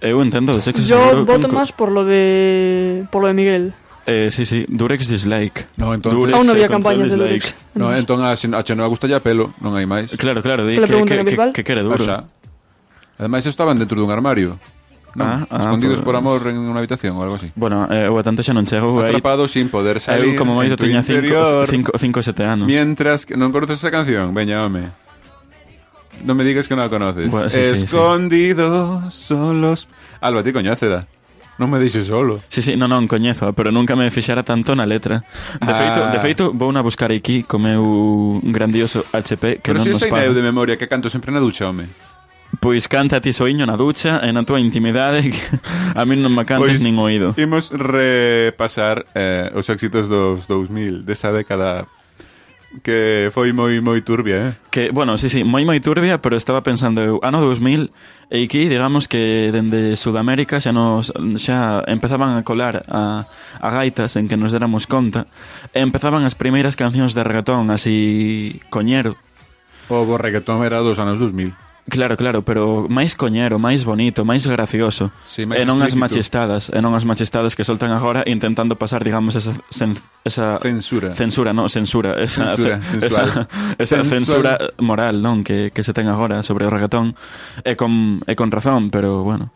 [SPEAKER 2] Eu entendo de sexo seguro.
[SPEAKER 3] Yo
[SPEAKER 2] con
[SPEAKER 3] voto
[SPEAKER 2] co-
[SPEAKER 3] más por lo de por lo de Miguel.
[SPEAKER 2] Eh, sí, sí, Durex dislike.
[SPEAKER 1] No, entonces-
[SPEAKER 2] Durex
[SPEAKER 3] Aún no
[SPEAKER 2] e
[SPEAKER 3] había
[SPEAKER 2] control
[SPEAKER 3] campañas de
[SPEAKER 2] dislike.
[SPEAKER 3] Durex.
[SPEAKER 1] No, entón a, Xen- a Chenoa gusta ya pelo, non hai máis.
[SPEAKER 2] Claro, claro, di
[SPEAKER 3] Que
[SPEAKER 2] que,
[SPEAKER 3] le pregunten
[SPEAKER 2] que,
[SPEAKER 3] a
[SPEAKER 2] que,
[SPEAKER 3] Bisbal.
[SPEAKER 2] que quere
[SPEAKER 1] O
[SPEAKER 2] duro.
[SPEAKER 1] sea, ademais estaban dentro dun armario. Non,
[SPEAKER 2] Ah, ah,
[SPEAKER 1] escondidos por
[SPEAKER 2] pois-
[SPEAKER 1] amor en unha habitación ou algo así.
[SPEAKER 2] bueno, eh, o tanto xa non chego aí.
[SPEAKER 1] Atrapados sin poder salir.
[SPEAKER 2] Eu como
[SPEAKER 1] en
[SPEAKER 2] moito
[SPEAKER 1] tu
[SPEAKER 2] tiña
[SPEAKER 1] interior.
[SPEAKER 2] 5 ou 7 anos.
[SPEAKER 1] Mientras que non conoces esa canción, veña, home. Non me digas que non a conoces.
[SPEAKER 2] Bueno, sí, sí, sí.
[SPEAKER 1] Escondidos solos. Alba, ti coñécela. Non me deixes solo.
[SPEAKER 2] Sí, sí, non, non, coñezo, pero nunca me fixara tanto na letra. De
[SPEAKER 1] Ah.
[SPEAKER 2] feito, de feito vou na buscar aquí co meu grandioso HP que
[SPEAKER 1] Pero
[SPEAKER 2] non
[SPEAKER 1] si
[SPEAKER 2] nos
[SPEAKER 1] esa
[SPEAKER 2] paga.
[SPEAKER 1] idea de memoria que canto sempre na ducha, home.
[SPEAKER 2] Pois canta a ti soiño na ducha e na tua intimidade que a min non me
[SPEAKER 1] Pois,
[SPEAKER 2] cantes nin oído.
[SPEAKER 1] Imos Pues repasar eh, os éxitos dos 2000, desa década que foi moi moi turbia, eh?
[SPEAKER 2] Que, bueno, sí, sí, moi moi turbia, pero estaba pensando eu, ano 2000, e aquí, digamos que dende Sudamérica xa nos xa empezaban a colar a, a gaitas en que nos déramos conta, e empezaban as primeiras cancións de reggaetón, así coñero.
[SPEAKER 1] O bo reggaetón era dos anos 2000.
[SPEAKER 2] Claro, claro, pero máis coñero, máis bonito, máis gracioso.
[SPEAKER 1] Sí, máis
[SPEAKER 2] e non as
[SPEAKER 1] explícito.
[SPEAKER 2] machistadas, e non as machistadas que soltan agora intentando pasar, digamos, esa sen, esa
[SPEAKER 1] Censura.
[SPEAKER 2] Censura, no, censura, esa
[SPEAKER 1] Censura,
[SPEAKER 2] ce-
[SPEAKER 1] sensual.
[SPEAKER 2] esa, esa
[SPEAKER 1] Sensual.
[SPEAKER 2] censura moral, non, que, que se ten agora sobre o reggaetón e con e con razón, pero bueno.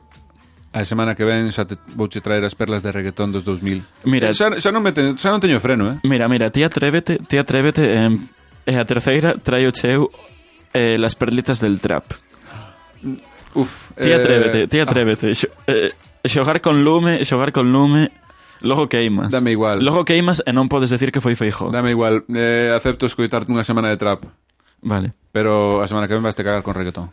[SPEAKER 1] A semana que ven xa te, vouche traer as perlas de reggaetón dos 2000.
[SPEAKER 2] Mira-
[SPEAKER 1] xa, xa non me ten, xa non teño freno, eh?
[SPEAKER 2] Mira, mira, ti atrévete, ti atrévete e, e a terceira traio cheu eh, las perlitas del trap.
[SPEAKER 1] Uf,
[SPEAKER 2] Ti
[SPEAKER 1] Eh,
[SPEAKER 2] atrévete, ti
[SPEAKER 1] ah.
[SPEAKER 2] atrévete. Xo, eh, xogar con lume, xogar con lume, logo queimas.
[SPEAKER 1] Dame igual.
[SPEAKER 2] Logo queimas e non podes decir que foi feijo.
[SPEAKER 1] Dame igual, eh, acepto escoitarte unha semana de trap,
[SPEAKER 2] Vale.
[SPEAKER 1] pero a semana que ven vas te cagar con reggaetón.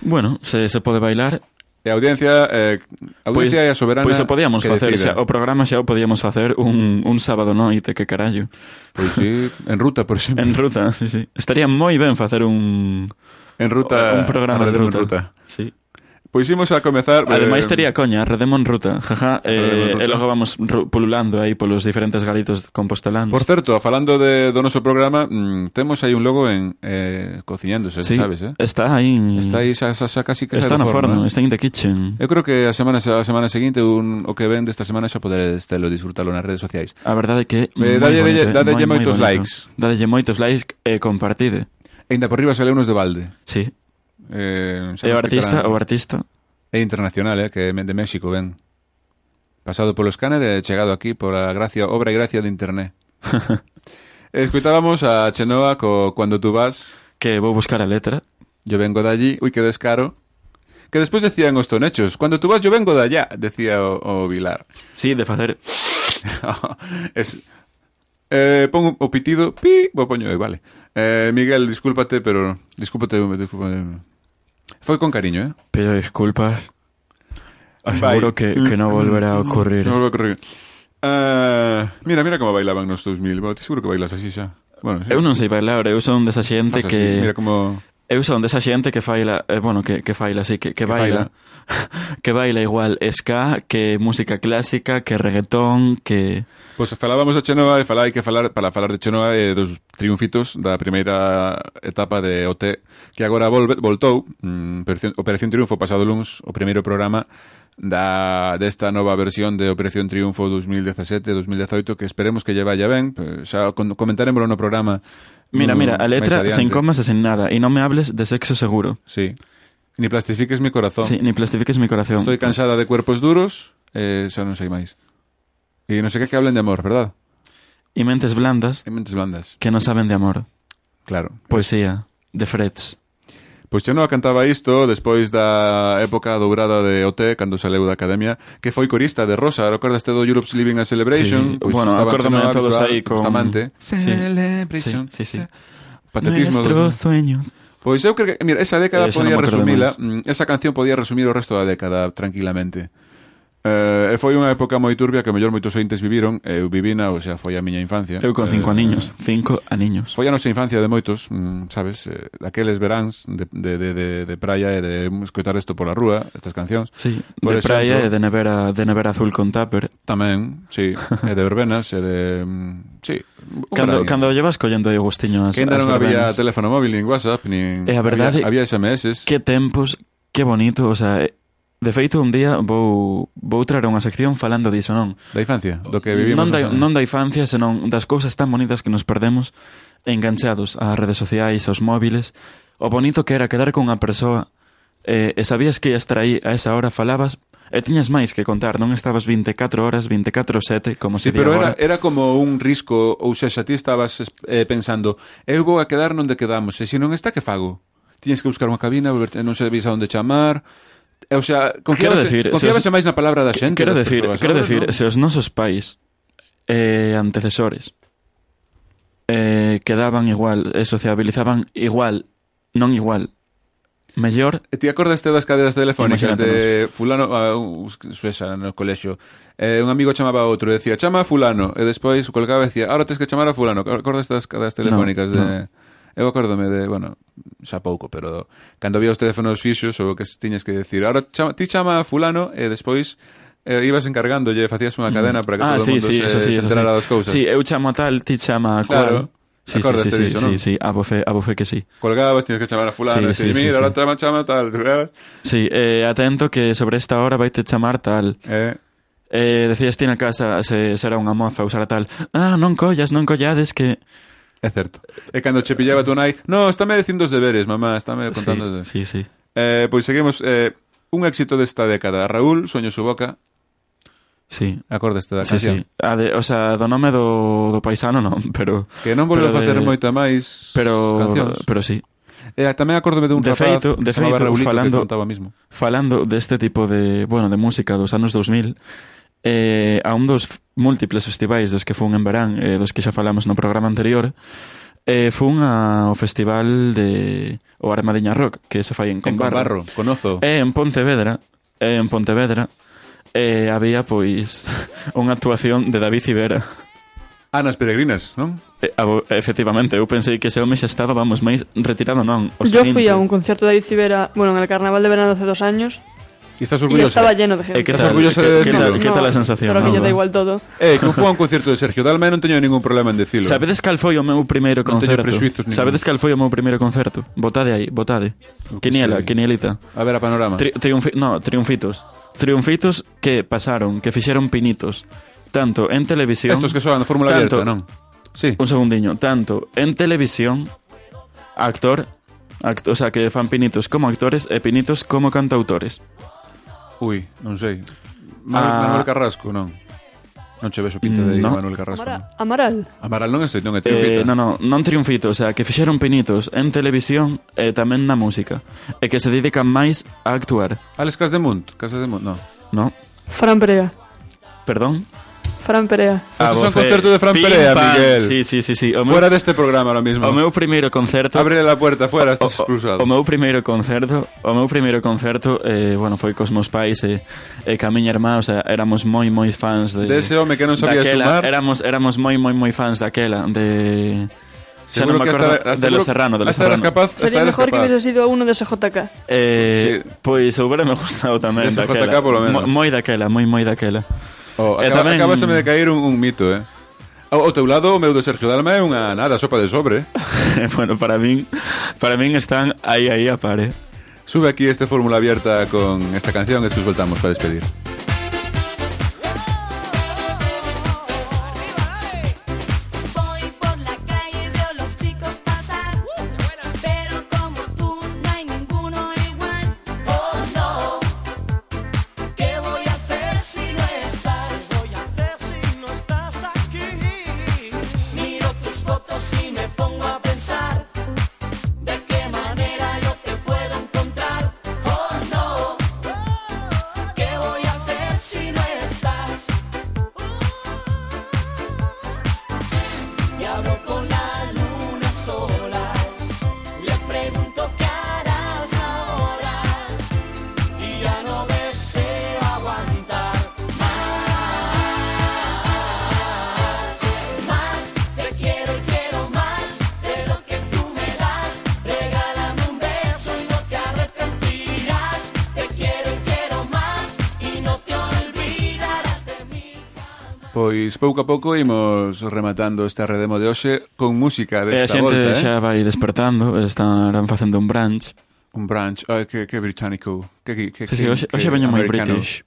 [SPEAKER 2] Bueno, se, se pode bailar.
[SPEAKER 1] E a audiencia, eh, a
[SPEAKER 2] Pois,
[SPEAKER 1] audiencia e a soberana
[SPEAKER 2] pois o podíamos
[SPEAKER 1] que
[SPEAKER 2] facer
[SPEAKER 1] decida.
[SPEAKER 2] xa, o programa xa o podíamos facer un, un sábado noite, que carallo.
[SPEAKER 1] Pois sí, en ruta, por exemplo.
[SPEAKER 2] En ruta, sí, sí. Estaría moi ben facer un
[SPEAKER 1] En ruta,
[SPEAKER 2] un programa en
[SPEAKER 1] arredemo
[SPEAKER 2] ruta.
[SPEAKER 1] en ruta.
[SPEAKER 2] Sí.
[SPEAKER 1] Pois imos a comezar... eh,
[SPEAKER 2] Ademais tería coña, redemo en ruta, jaja,
[SPEAKER 1] Redemo en
[SPEAKER 2] eh,
[SPEAKER 1] ruta.
[SPEAKER 2] e logo vamos ru- pululando aí polos diferentes galitos compostelanos.
[SPEAKER 1] Por certo, falando de, do noso programa, mm, temos aí un logo en eh, cociñándose,
[SPEAKER 2] sí,
[SPEAKER 1] sabes, eh?
[SPEAKER 2] Está aí,
[SPEAKER 1] Está aí xa, xa, xa casi que sai
[SPEAKER 2] está
[SPEAKER 1] do
[SPEAKER 2] no forno,
[SPEAKER 1] eh?
[SPEAKER 2] está in the kitchen.
[SPEAKER 1] Eu creo que a semana a semana seguinte un, o que ven desta semana xa poderedes telo disfrutalo nas redes sociais.
[SPEAKER 2] A verdade é que
[SPEAKER 1] Eh,
[SPEAKER 2] é moi
[SPEAKER 1] dalle-
[SPEAKER 2] bonito,
[SPEAKER 1] dalle-
[SPEAKER 2] eh,
[SPEAKER 1] dadelle
[SPEAKER 2] moi, moi
[SPEAKER 1] moitos
[SPEAKER 2] bonito.
[SPEAKER 1] likes.
[SPEAKER 2] Dadelle moitos likes e compartide.
[SPEAKER 1] Ainda por riba sale unos de balde.
[SPEAKER 2] Sí.
[SPEAKER 1] Eh, xa
[SPEAKER 2] E o
[SPEAKER 1] nos
[SPEAKER 2] artista,
[SPEAKER 1] explicarán.
[SPEAKER 2] o artista.
[SPEAKER 1] É internacional, eh, que é de México, ven. Pasado polo escáner e chegado aquí pola gracia, obra e gracia de internet. Escuitábamos a Chenoa co Cuando tú vas,
[SPEAKER 2] que vou buscar a letra.
[SPEAKER 1] yo vengo de allí, ui, que descaro. Que despois decían os tonechos, Cuando tú vas, yo vengo de allá, decía o, o Vilar.
[SPEAKER 2] Sí, de facer
[SPEAKER 1] es, eh, pon o pitido, pi, bo poño, aí, vale. Eh, Miguel, discúlpate, pero... Discúlpate, discúlpate. Foi con cariño, eh?
[SPEAKER 2] Pido disculpas.
[SPEAKER 1] Vai.
[SPEAKER 2] Aseguro que, que
[SPEAKER 1] Mm,
[SPEAKER 2] non volverá a ocurrir. eh.
[SPEAKER 1] Non volve a correr. Ah, mira, mira como bailaban nos 2000. Bueno, te seguro que bailas así xa. Bueno, sí.
[SPEAKER 2] Eu non sei bailar, eu son desa xente
[SPEAKER 1] Fas así,
[SPEAKER 2] que
[SPEAKER 1] Mira como...
[SPEAKER 2] E usa onde esa xente que faila, eh, bueno, que, que faila, sí, que, que baila, que baila igual ska, que música clásica, que reggaetón, que...
[SPEAKER 1] Pois falábamos da Chenoa e falai que falar para falar de Chenoa e dos triunfitos da primeira etapa de OT que agora volve, voltou mm, Operación, Operación Triunfo pasado luns o primeiro programa da desta nova versión de Operación Triunfo 2017-2018 que esperemos que lle vaya ben eh, xa con- comentaremos no programa
[SPEAKER 2] Mira,
[SPEAKER 1] mm,
[SPEAKER 2] mira, a
[SPEAKER 1] máis
[SPEAKER 2] letra
[SPEAKER 1] adiante.
[SPEAKER 2] sen comas e sen nada, e non me hables de sexo seguro.
[SPEAKER 1] Sí. Ni plastifiques mi corazón
[SPEAKER 2] Sí, ni plastifiques mi corazón.
[SPEAKER 1] Estoy cansada de cuerpos duros eh, xa non sei máis E non sei que que hablen de amor, verdad?
[SPEAKER 2] E mentes blandas
[SPEAKER 1] E mentes blandas,
[SPEAKER 2] que non saben de amor.
[SPEAKER 1] claro
[SPEAKER 2] Poesía de Freds.
[SPEAKER 1] Pois Chenoa cantaba isto despois da época dourada de OT, cando saleu da academia, que foi corista de Rosa, recordaste do Europe's Living a Celebration?
[SPEAKER 2] Sí, bueno,
[SPEAKER 1] estaba
[SPEAKER 2] acórdame
[SPEAKER 1] Chenoa
[SPEAKER 2] de todos
[SPEAKER 1] Bisbal,
[SPEAKER 2] aí con-
[SPEAKER 1] Bustamante.
[SPEAKER 2] Sí.
[SPEAKER 1] Celebration.
[SPEAKER 2] Sí, sí, sí.
[SPEAKER 1] Patetismo.
[SPEAKER 2] Nuestros
[SPEAKER 1] dos-
[SPEAKER 2] sueños.
[SPEAKER 1] Pois eu creo que, mira, esa década
[SPEAKER 2] Eh, xa
[SPEAKER 1] podía
[SPEAKER 2] non me acordo
[SPEAKER 1] resumila,
[SPEAKER 2] máis.
[SPEAKER 1] mm, esa canción podía resumir o resto da década tranquilamente. Eh, e foi unha época moi turbia que mellor moitos ointes viviron, eu vivina, o sea, foi a miña infancia.
[SPEAKER 2] Eu con
[SPEAKER 1] Eh,
[SPEAKER 2] cinco aniños. Cinco aniños.
[SPEAKER 1] Foi a nosa infancia de moitos, mm, sabes, eh, daqueles veráns de, de, de, de, de praia e de escoitar isto pola rúa, estas cancións.
[SPEAKER 2] Sí,
[SPEAKER 1] Por
[SPEAKER 2] de
[SPEAKER 1] exemplo-
[SPEAKER 2] praia e de nevera, de nevera azul con tupper.
[SPEAKER 1] Tamén, sí, e de verbenas, e de... mm, Sí, un
[SPEAKER 2] Cando,
[SPEAKER 1] verán.
[SPEAKER 2] cando llevas collendo de gustiño as,
[SPEAKER 1] Que ainda
[SPEAKER 2] as
[SPEAKER 1] non había
[SPEAKER 2] verbenas.
[SPEAKER 1] teléfono móvil, nin WhatsApp, nin...
[SPEAKER 2] E a verdade-
[SPEAKER 1] Había, había SMS.
[SPEAKER 2] Que tempos, que bonito, o sea, eh, de feito un día vou vou traer unha sección falando diso, non?
[SPEAKER 1] Da infancia, do que vivimos.
[SPEAKER 2] non, da,
[SPEAKER 1] os anos.
[SPEAKER 2] non da infancia, senón das cousas tan bonitas que nos perdemos enganchados ás redes sociais, aos móviles. O bonito que era quedar con unha persoa eh, e sabías que ia estar aí a esa hora, falabas e tiñas máis que contar, non estabas 24 horas, 24-7, como
[SPEAKER 1] Sí,
[SPEAKER 2] se di
[SPEAKER 1] pero era,
[SPEAKER 2] agora.
[SPEAKER 1] era como un risco, ou xa xa ti estabas es- eh, pensando, eu vou a quedar onde quedamos, e se non está, que fago? Tiñes que buscar unha cabina, volver- non sabías a onde chamar, e, o sea, confiabas,
[SPEAKER 2] decir, se
[SPEAKER 1] confiabas
[SPEAKER 2] os-
[SPEAKER 1] máis na palabra da xente.
[SPEAKER 2] Quero
[SPEAKER 1] das
[SPEAKER 2] decir,
[SPEAKER 1] persoas,
[SPEAKER 2] quero
[SPEAKER 1] agora
[SPEAKER 2] decir,
[SPEAKER 1] non.
[SPEAKER 2] se os nosos pais eh, antecesores eh, quedaban igual, eh, sociabilizaban igual, non igual, mellor,
[SPEAKER 1] E Ti acordaste das caderas telefónicas de
[SPEAKER 2] Imagínate
[SPEAKER 1] fulano a un suesa no colexio. Eh, un amigo chamaba a outro e decía, "Chama a fulano" e despois colgaba e decía, "Ahora tens que chamar a fulano". Acordaste das caderas telefónicas
[SPEAKER 2] No,
[SPEAKER 1] de Eu acórdome de, bueno, xa pouco, pero cando había os teléfonos fixos ou o que tiñes que decir, "Ahora chama, ti chama a fulano" e despois eh, ibas encargándolle, facías unha cadena para que
[SPEAKER 2] ah,
[SPEAKER 1] todo o
[SPEAKER 2] sí,
[SPEAKER 1] mundo
[SPEAKER 2] sí,
[SPEAKER 1] se,
[SPEAKER 2] eso sí,
[SPEAKER 1] se
[SPEAKER 2] eso
[SPEAKER 1] enterara
[SPEAKER 2] sí.
[SPEAKER 1] das cousas.
[SPEAKER 2] Sí, eh. eu chamo a tal, ti chama a
[SPEAKER 1] Claro.
[SPEAKER 2] cual. Sí, sí,
[SPEAKER 1] Acordaste
[SPEAKER 2] sí, sí,
[SPEAKER 1] diso,
[SPEAKER 2] sí,
[SPEAKER 1] non?
[SPEAKER 2] sí, a bofe, a bofe que sí.
[SPEAKER 1] Colgabas, tiñes que chamar a fulano,
[SPEAKER 2] Sí,
[SPEAKER 1] e decir,
[SPEAKER 2] sí, sí,
[SPEAKER 1] "Mira,
[SPEAKER 2] sí.
[SPEAKER 1] ahora chama, chama tal",
[SPEAKER 2] Sí, eh, atento que sobre esta hora vai te chamar tal.
[SPEAKER 1] eh
[SPEAKER 2] Eh, decías ti na casa se será unha moza usará tal. Ah, non collas, non collades que...
[SPEAKER 1] É certo. E cando che pillaba tú nai, no, estáme dicindo os deberes, mamá, estáme contando... os deberes."
[SPEAKER 2] Sí, sí, sí.
[SPEAKER 1] Eh, pois seguimos. Eh, un éxito desta década. Raúl, Soño su boca,
[SPEAKER 2] Sí,
[SPEAKER 1] acordaste da
[SPEAKER 2] Sí,
[SPEAKER 1] canción.
[SPEAKER 2] sí. A de, o sea, do nome do, do paisano non, pero
[SPEAKER 1] Que non volveu a
[SPEAKER 2] Pero
[SPEAKER 1] facer
[SPEAKER 2] de-
[SPEAKER 1] moita máis
[SPEAKER 2] pero
[SPEAKER 1] cancións.
[SPEAKER 2] pero sí.
[SPEAKER 1] E tamén acórdome dun
[SPEAKER 2] De
[SPEAKER 1] rapaz
[SPEAKER 2] feito-
[SPEAKER 1] que
[SPEAKER 2] de
[SPEAKER 1] se chamaba
[SPEAKER 2] feito,
[SPEAKER 1] Raulito
[SPEAKER 2] falando-
[SPEAKER 1] que contaba mismo.
[SPEAKER 2] Falando deste tipo de, bueno, de música dos anos 2000, eh, a un dos f- múltiples festivais dos que fun en verán, eh, dos que xa falamos no programa anterior, eh, fun ao festival de o Armadiña Rock, que se fai en
[SPEAKER 1] Con
[SPEAKER 2] Combarro.
[SPEAKER 1] Barro, con Ozo.
[SPEAKER 2] E en Pontevedra, e en Pontevedra, eh, había pois unha actuación de David Ibera.
[SPEAKER 1] Anas Peregrinas, non?
[SPEAKER 2] Eh, abo- efectivamente, eu pensei que ese home xa estaba, vamos, máis retirado non. O
[SPEAKER 3] Yo fui
[SPEAKER 2] seguinte.
[SPEAKER 3] a un concierto de David Civera, bueno, en el carnaval de verano hace dos años,
[SPEAKER 1] E estás
[SPEAKER 3] y
[SPEAKER 1] orgullosa.
[SPEAKER 3] estaba lleno de gente.
[SPEAKER 2] Eh, que
[SPEAKER 1] Estás orgullosa de
[SPEAKER 2] que- que
[SPEAKER 1] decirlo?
[SPEAKER 2] tal- que tal a sensación?
[SPEAKER 3] Pero que
[SPEAKER 2] non?
[SPEAKER 3] lle da igual todo.
[SPEAKER 1] Eh, que fue a un concierto de Sergio Dalma e non teño ningún problema en dicilo.
[SPEAKER 2] Sabedes cal foi o meu primeiro
[SPEAKER 1] Non teño
[SPEAKER 2] concerto?
[SPEAKER 1] prexuizos ningún.
[SPEAKER 2] Sabedes cal foi o meu primeiro concerto? Votade aí, votade. Quiniela,
[SPEAKER 1] sei.
[SPEAKER 2] quinielita.
[SPEAKER 1] A ver a panorama.
[SPEAKER 2] Tri triunfi no, triunfitos. Triunfitos que pasaron, que fixeron pinitos. Tanto en televisión...
[SPEAKER 1] Estos que soan na Fórmula Abierta,
[SPEAKER 2] Tanto-
[SPEAKER 1] non? Sí.
[SPEAKER 2] Un segundiño. Tanto en televisión, actor... act- o sea, que fan pinitos como actores e pinitos como cantautores.
[SPEAKER 1] Ui, non sei.
[SPEAKER 2] Ah.
[SPEAKER 1] Manuel, Manuel Carrasco, non? Non che vexo pinta de
[SPEAKER 2] Mm, no.
[SPEAKER 1] Manuel Carrasco. non.
[SPEAKER 3] Amara- Amaral.
[SPEAKER 1] Amaral non estou, non é
[SPEAKER 2] Eh,
[SPEAKER 1] triunfita.
[SPEAKER 2] non, non, non triunfito, o sea, que fixeron pinitos en televisión e tamén na música. E que se dedican máis a actuar,
[SPEAKER 1] Alex Casdemunt, Casdemunt, no.
[SPEAKER 2] no?
[SPEAKER 3] Fran Perea.
[SPEAKER 2] Perdón?
[SPEAKER 3] Fran Perea.
[SPEAKER 1] Ah,
[SPEAKER 2] vos,
[SPEAKER 1] son concerto de Fran
[SPEAKER 2] pim,
[SPEAKER 1] Perea,
[SPEAKER 2] pam.
[SPEAKER 1] Miguel.
[SPEAKER 2] Sí, sí, sí, sí. O meu,
[SPEAKER 1] Fuera deste programa ahora mismo.
[SPEAKER 2] o meu primeiro concerto...
[SPEAKER 1] Abre la puerta, fuera,
[SPEAKER 2] o,
[SPEAKER 1] estás expulsado.
[SPEAKER 2] o meu primeiro concerto, o meu primeiro concerto, eh, bueno, foi cos meus pais e, e ca miña irmá, o sea, éramos moi moi fans de
[SPEAKER 1] Dese home que non sabía
[SPEAKER 2] daquela,
[SPEAKER 1] sumar.
[SPEAKER 2] Éramos éramos moi moi moi fans daquela de Ya no me
[SPEAKER 1] que
[SPEAKER 2] acuerdo
[SPEAKER 1] hasta-
[SPEAKER 2] de
[SPEAKER 1] seguro-
[SPEAKER 2] los Serrano, de los
[SPEAKER 1] hasta eras
[SPEAKER 2] Serrano.
[SPEAKER 1] capaz, hasta
[SPEAKER 3] Sería
[SPEAKER 1] eras
[SPEAKER 3] mejor que
[SPEAKER 1] capaz.
[SPEAKER 3] hubiese sido a uno de SJK.
[SPEAKER 2] Eh, Pois houbera me gustado tamén
[SPEAKER 1] Ese
[SPEAKER 2] daquela.
[SPEAKER 1] JK polo menos.
[SPEAKER 2] Mo- Moi daquela, moi moi daquela.
[SPEAKER 1] Oh,
[SPEAKER 2] E
[SPEAKER 1] acaba,
[SPEAKER 2] Eh, tamén-
[SPEAKER 1] Acabaseme de caer un, un mito, eh? Ao, ao teu lado, o meu de Sergio Dalma é unha nada, sopa de sobre.
[SPEAKER 2] bueno, para min, para min están aí aí a par, eh.
[SPEAKER 1] Sube aquí este fórmula abierta con esta canción e despois voltamos para despedir.
[SPEAKER 9] Voy por la calle y veo los chicos pasar, pero como tú no hay ninguno igual. Oh no, ¿qué voy a hacer si no estás? Voy a hacer si no estás aquí. Miro tus fotos y me pongo a pensar de qué manera yo te puedo encontrar. Oh no, ¿qué voy a hacer si no estás? Y hablo con la luna a solas, le pregunto qué harás ahora y ya no deseo aguantar más, más te quiero y quiero más de lo que tú me das, regálame un beso y no te arrepentirás, te quiero y quiero más y no te olvidarás de mí.
[SPEAKER 1] Pois pouco a pouco imos rematando esta redemo de hoxe con música
[SPEAKER 2] E a
[SPEAKER 1] desta
[SPEAKER 2] xente
[SPEAKER 1] volta, eh?
[SPEAKER 2] xa vai despertando, estarán facendo un brunch.
[SPEAKER 1] Un brunch, ai, que, que británico. Que, que, que,
[SPEAKER 2] Sí, sí, hoxe,
[SPEAKER 1] que
[SPEAKER 2] hoxe veño moi
[SPEAKER 1] americano.
[SPEAKER 2] british.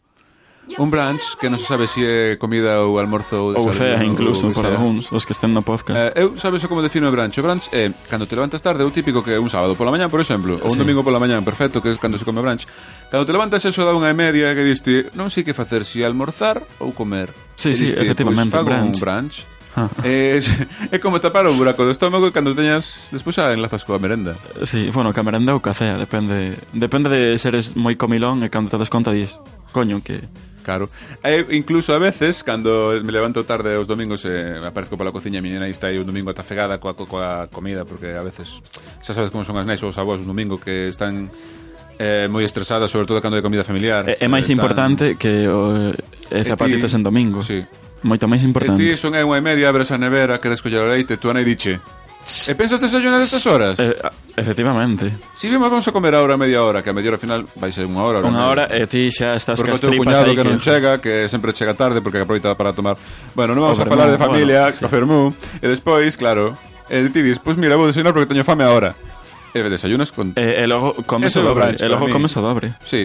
[SPEAKER 1] Un brunch que non se sabe se si é comida ou almorzo ou
[SPEAKER 2] Ou
[SPEAKER 1] desayuno,
[SPEAKER 2] fea, incluso,
[SPEAKER 1] ou o que
[SPEAKER 2] por
[SPEAKER 1] sea.
[SPEAKER 2] algúns, os que estén no podcast.
[SPEAKER 1] Eh, eu sabes o como defino o brunch? O brunch é cando te levantas tarde, o típico que é un sábado pola mañá, por exemplo, ou un
[SPEAKER 2] Sí.
[SPEAKER 1] domingo pola mañá, perfecto, que é cando se come brunch. Cando te levantas eso da unha e media que diste, non sei que facer, si almorzar ou comer.
[SPEAKER 2] Sí,
[SPEAKER 1] E
[SPEAKER 2] sí,
[SPEAKER 1] diste,
[SPEAKER 2] efectivamente,
[SPEAKER 1] "Pois fago un
[SPEAKER 2] brunch."
[SPEAKER 1] brunch.
[SPEAKER 2] Ah.
[SPEAKER 1] É, é como tapar o buraco do estómago e cando teñas, despois xa enlazas coa merenda.
[SPEAKER 2] Sí, bueno, camerenda ou café, depende. Depende de seres moi comilón e cando te das conta dis, coño, que
[SPEAKER 1] Claro. E incluso a veces, cando me levanto tarde os domingos e eh, aparezco pola cociña e mi nena está aí un domingo atafegada coa, co- coa comida, porque a veces, xa sabes como son as nais ou os avós un domingo que están eh, moi estresadas, sobre todo cando hai comida familiar.
[SPEAKER 2] é, é máis
[SPEAKER 1] Eh, están-
[SPEAKER 2] importante que o, é
[SPEAKER 1] ti-
[SPEAKER 2] zapatitos en domingo.
[SPEAKER 1] Sí.
[SPEAKER 2] Moito máis
[SPEAKER 1] E ti
[SPEAKER 2] importante.
[SPEAKER 1] son aí unha e media, abres a nevera, queres coller o leite, tú a nai diche... E pensas desayunar estas horas?
[SPEAKER 2] Eh, a- efectivamente.
[SPEAKER 1] Si vimos, vamos a comer ahora media hora, que a media hora final vai ser unha hora.
[SPEAKER 2] Unha
[SPEAKER 1] media.
[SPEAKER 2] hora e ti xa estás
[SPEAKER 1] Porque o
[SPEAKER 2] cas
[SPEAKER 1] teu
[SPEAKER 2] tripas
[SPEAKER 1] cuñado
[SPEAKER 2] aí
[SPEAKER 1] que non
[SPEAKER 2] que...
[SPEAKER 1] chega, que sempre chega tarde porque aproveita para tomar. Bueno, non vamos
[SPEAKER 2] O
[SPEAKER 1] a falar de
[SPEAKER 2] vermú,
[SPEAKER 1] familia,
[SPEAKER 2] bueno,
[SPEAKER 1] bueno,
[SPEAKER 2] sí.
[SPEAKER 1] co fermú. E despois, claro, e ti dis, pois mira, vou desayunar porque teño fame agora. E desayunas con... Eh,
[SPEAKER 2] E, e logo comes
[SPEAKER 1] Ese é
[SPEAKER 2] o
[SPEAKER 1] o
[SPEAKER 2] dobre.
[SPEAKER 1] brunch
[SPEAKER 2] E
[SPEAKER 1] para
[SPEAKER 2] logo
[SPEAKER 1] min.
[SPEAKER 2] comes o dobre.
[SPEAKER 1] sí.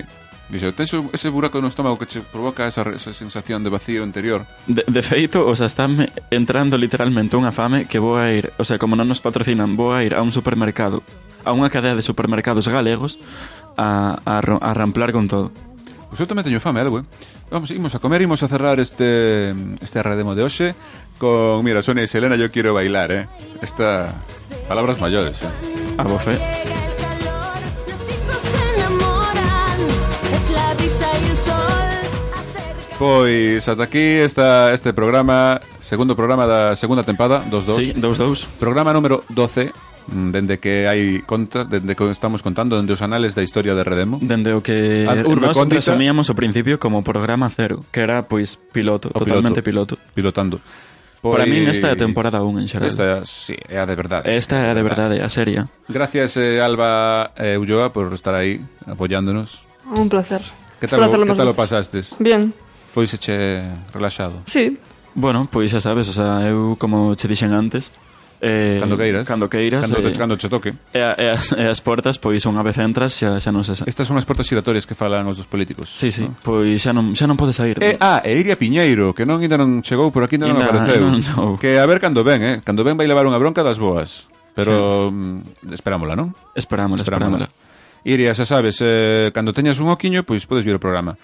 [SPEAKER 1] Dixo, tens o- ese buraco no estómago que che provoca esa, re- esa sensación de vacío interior.
[SPEAKER 2] De, de feito, o sea, estáme entrando literalmente unha fame que vou a ir, o sea, como non nos patrocinan, vou a ir a un supermercado, a unha cadea de supermercados galegos a, a, ro- a ramplar con todo.
[SPEAKER 1] Pois eu tamén teño fame, algo, eh? Vamos, imos a comer, imos a cerrar este este redemo de hoxe con, mira, Sonia e Selena, yo quiero bailar, eh? Esta... Palabras maiores, eh?
[SPEAKER 2] A
[SPEAKER 9] Llega
[SPEAKER 2] bofe.
[SPEAKER 9] el calor, los tipos se enamoran, es la brisa y el sol. Acerca
[SPEAKER 1] Pois ata aquí esta, este programa Segundo programa da segunda tempada Dos dos
[SPEAKER 2] Sí, dous, dous.
[SPEAKER 1] Programa número 12 mm, Dende que hai contas Dende que estamos contando Dende os anales da historia de Redemo
[SPEAKER 2] Dende o que
[SPEAKER 1] Ad urbe
[SPEAKER 2] nos
[SPEAKER 1] condita.
[SPEAKER 2] resumíamos ao principio como programa cero, que era, pois, piloto,
[SPEAKER 1] O
[SPEAKER 2] totalmente piloto.
[SPEAKER 1] Pilotando Pois
[SPEAKER 2] Para min esta é a temporada un en xeral.
[SPEAKER 1] Esta, sí, é a de verdade
[SPEAKER 2] Esta
[SPEAKER 1] Ah.
[SPEAKER 2] é de verdade, a seria.
[SPEAKER 1] Gracias eh, Alba eh, Ulloa por estar aí apoyándonos
[SPEAKER 3] Un placer.
[SPEAKER 1] Que tal,
[SPEAKER 3] Placer
[SPEAKER 1] o-
[SPEAKER 3] lo
[SPEAKER 1] que
[SPEAKER 3] más
[SPEAKER 1] tal o
[SPEAKER 3] grande.
[SPEAKER 1] pasastes?
[SPEAKER 3] Bien,
[SPEAKER 1] Foi che relaxado
[SPEAKER 3] sí.
[SPEAKER 2] Bueno, pois xa sabes, o sea, eu como che dixen antes, eh,
[SPEAKER 1] Cando queiras
[SPEAKER 2] Cando queiras.
[SPEAKER 1] Cando,
[SPEAKER 2] eh,
[SPEAKER 1] te, cando che toque
[SPEAKER 2] E, a- e, as, e as portas, pois unha vez entras, xa, xa non se sa...
[SPEAKER 1] Estas son as portas giratorias que falan os dos políticos
[SPEAKER 2] Sí, sí, pois xa non, xa non podes sair.
[SPEAKER 1] E, ah, e Iria Piñeiro, que non ainda non chegou, por aquí ainda non
[SPEAKER 2] Ainda-
[SPEAKER 1] apareceu.
[SPEAKER 2] ainda non chegou.
[SPEAKER 1] Que a ver cando ven, eh? Cando ven vai levar unha bronca das boas. Pero mm, esperámola, non?
[SPEAKER 2] Esperámola, esperámola.
[SPEAKER 1] Iria, xa sabes, eh, cando teñas un oquiño, pois podes vir o programa.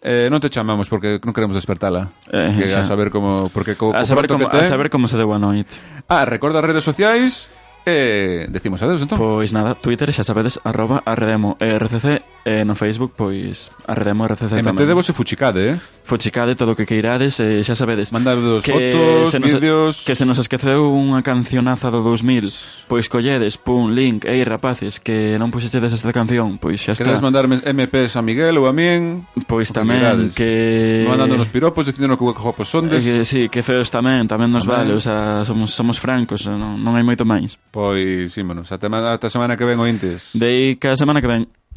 [SPEAKER 1] Eh, non te chamamos porque non queremos despertala.
[SPEAKER 2] Eh,
[SPEAKER 1] que a
[SPEAKER 2] xa.
[SPEAKER 1] saber como porque co, co
[SPEAKER 2] A saber,
[SPEAKER 1] cuarto
[SPEAKER 2] como,
[SPEAKER 1] que ten-
[SPEAKER 2] a saber como se deu a noite.
[SPEAKER 1] Ah, recorda as redes sociais. Eh, decimos adeus entón.
[SPEAKER 2] Pois nada, Twitter xa sabedes, arroba arredemo, e RCC, eh, no Facebook, pois arredemo
[SPEAKER 1] E
[SPEAKER 2] RCC tamén.
[SPEAKER 1] metedevos e fuchicade, eh?
[SPEAKER 2] Fuchicade todo o que queirades, eh, xa sabedes.
[SPEAKER 1] Mandadevos
[SPEAKER 2] que
[SPEAKER 1] fotos,
[SPEAKER 2] se nos-
[SPEAKER 1] vídeos.
[SPEAKER 2] Que se nos esqueceu unha cancionaza do 2000, pois colledes, pum, link, ei rapaces, que non puxechedes esta canción, pois xa está.
[SPEAKER 1] Queredes mandarme MPs a Miguel ou a min?
[SPEAKER 2] Pois tamén
[SPEAKER 1] Oportunidades.
[SPEAKER 2] que...
[SPEAKER 1] Mandándonos piropos, dicindo que guapos sondes.
[SPEAKER 2] Eh, que sí, que feos tamén, tamén nos
[SPEAKER 1] Tamén.
[SPEAKER 2] vale, o sea, somos, somos francos, eh, non, non hai moito máis.
[SPEAKER 1] Pois, ímonos. Ata, ma- ata semana que ven, ointes.
[SPEAKER 2] Dei cada semana que ven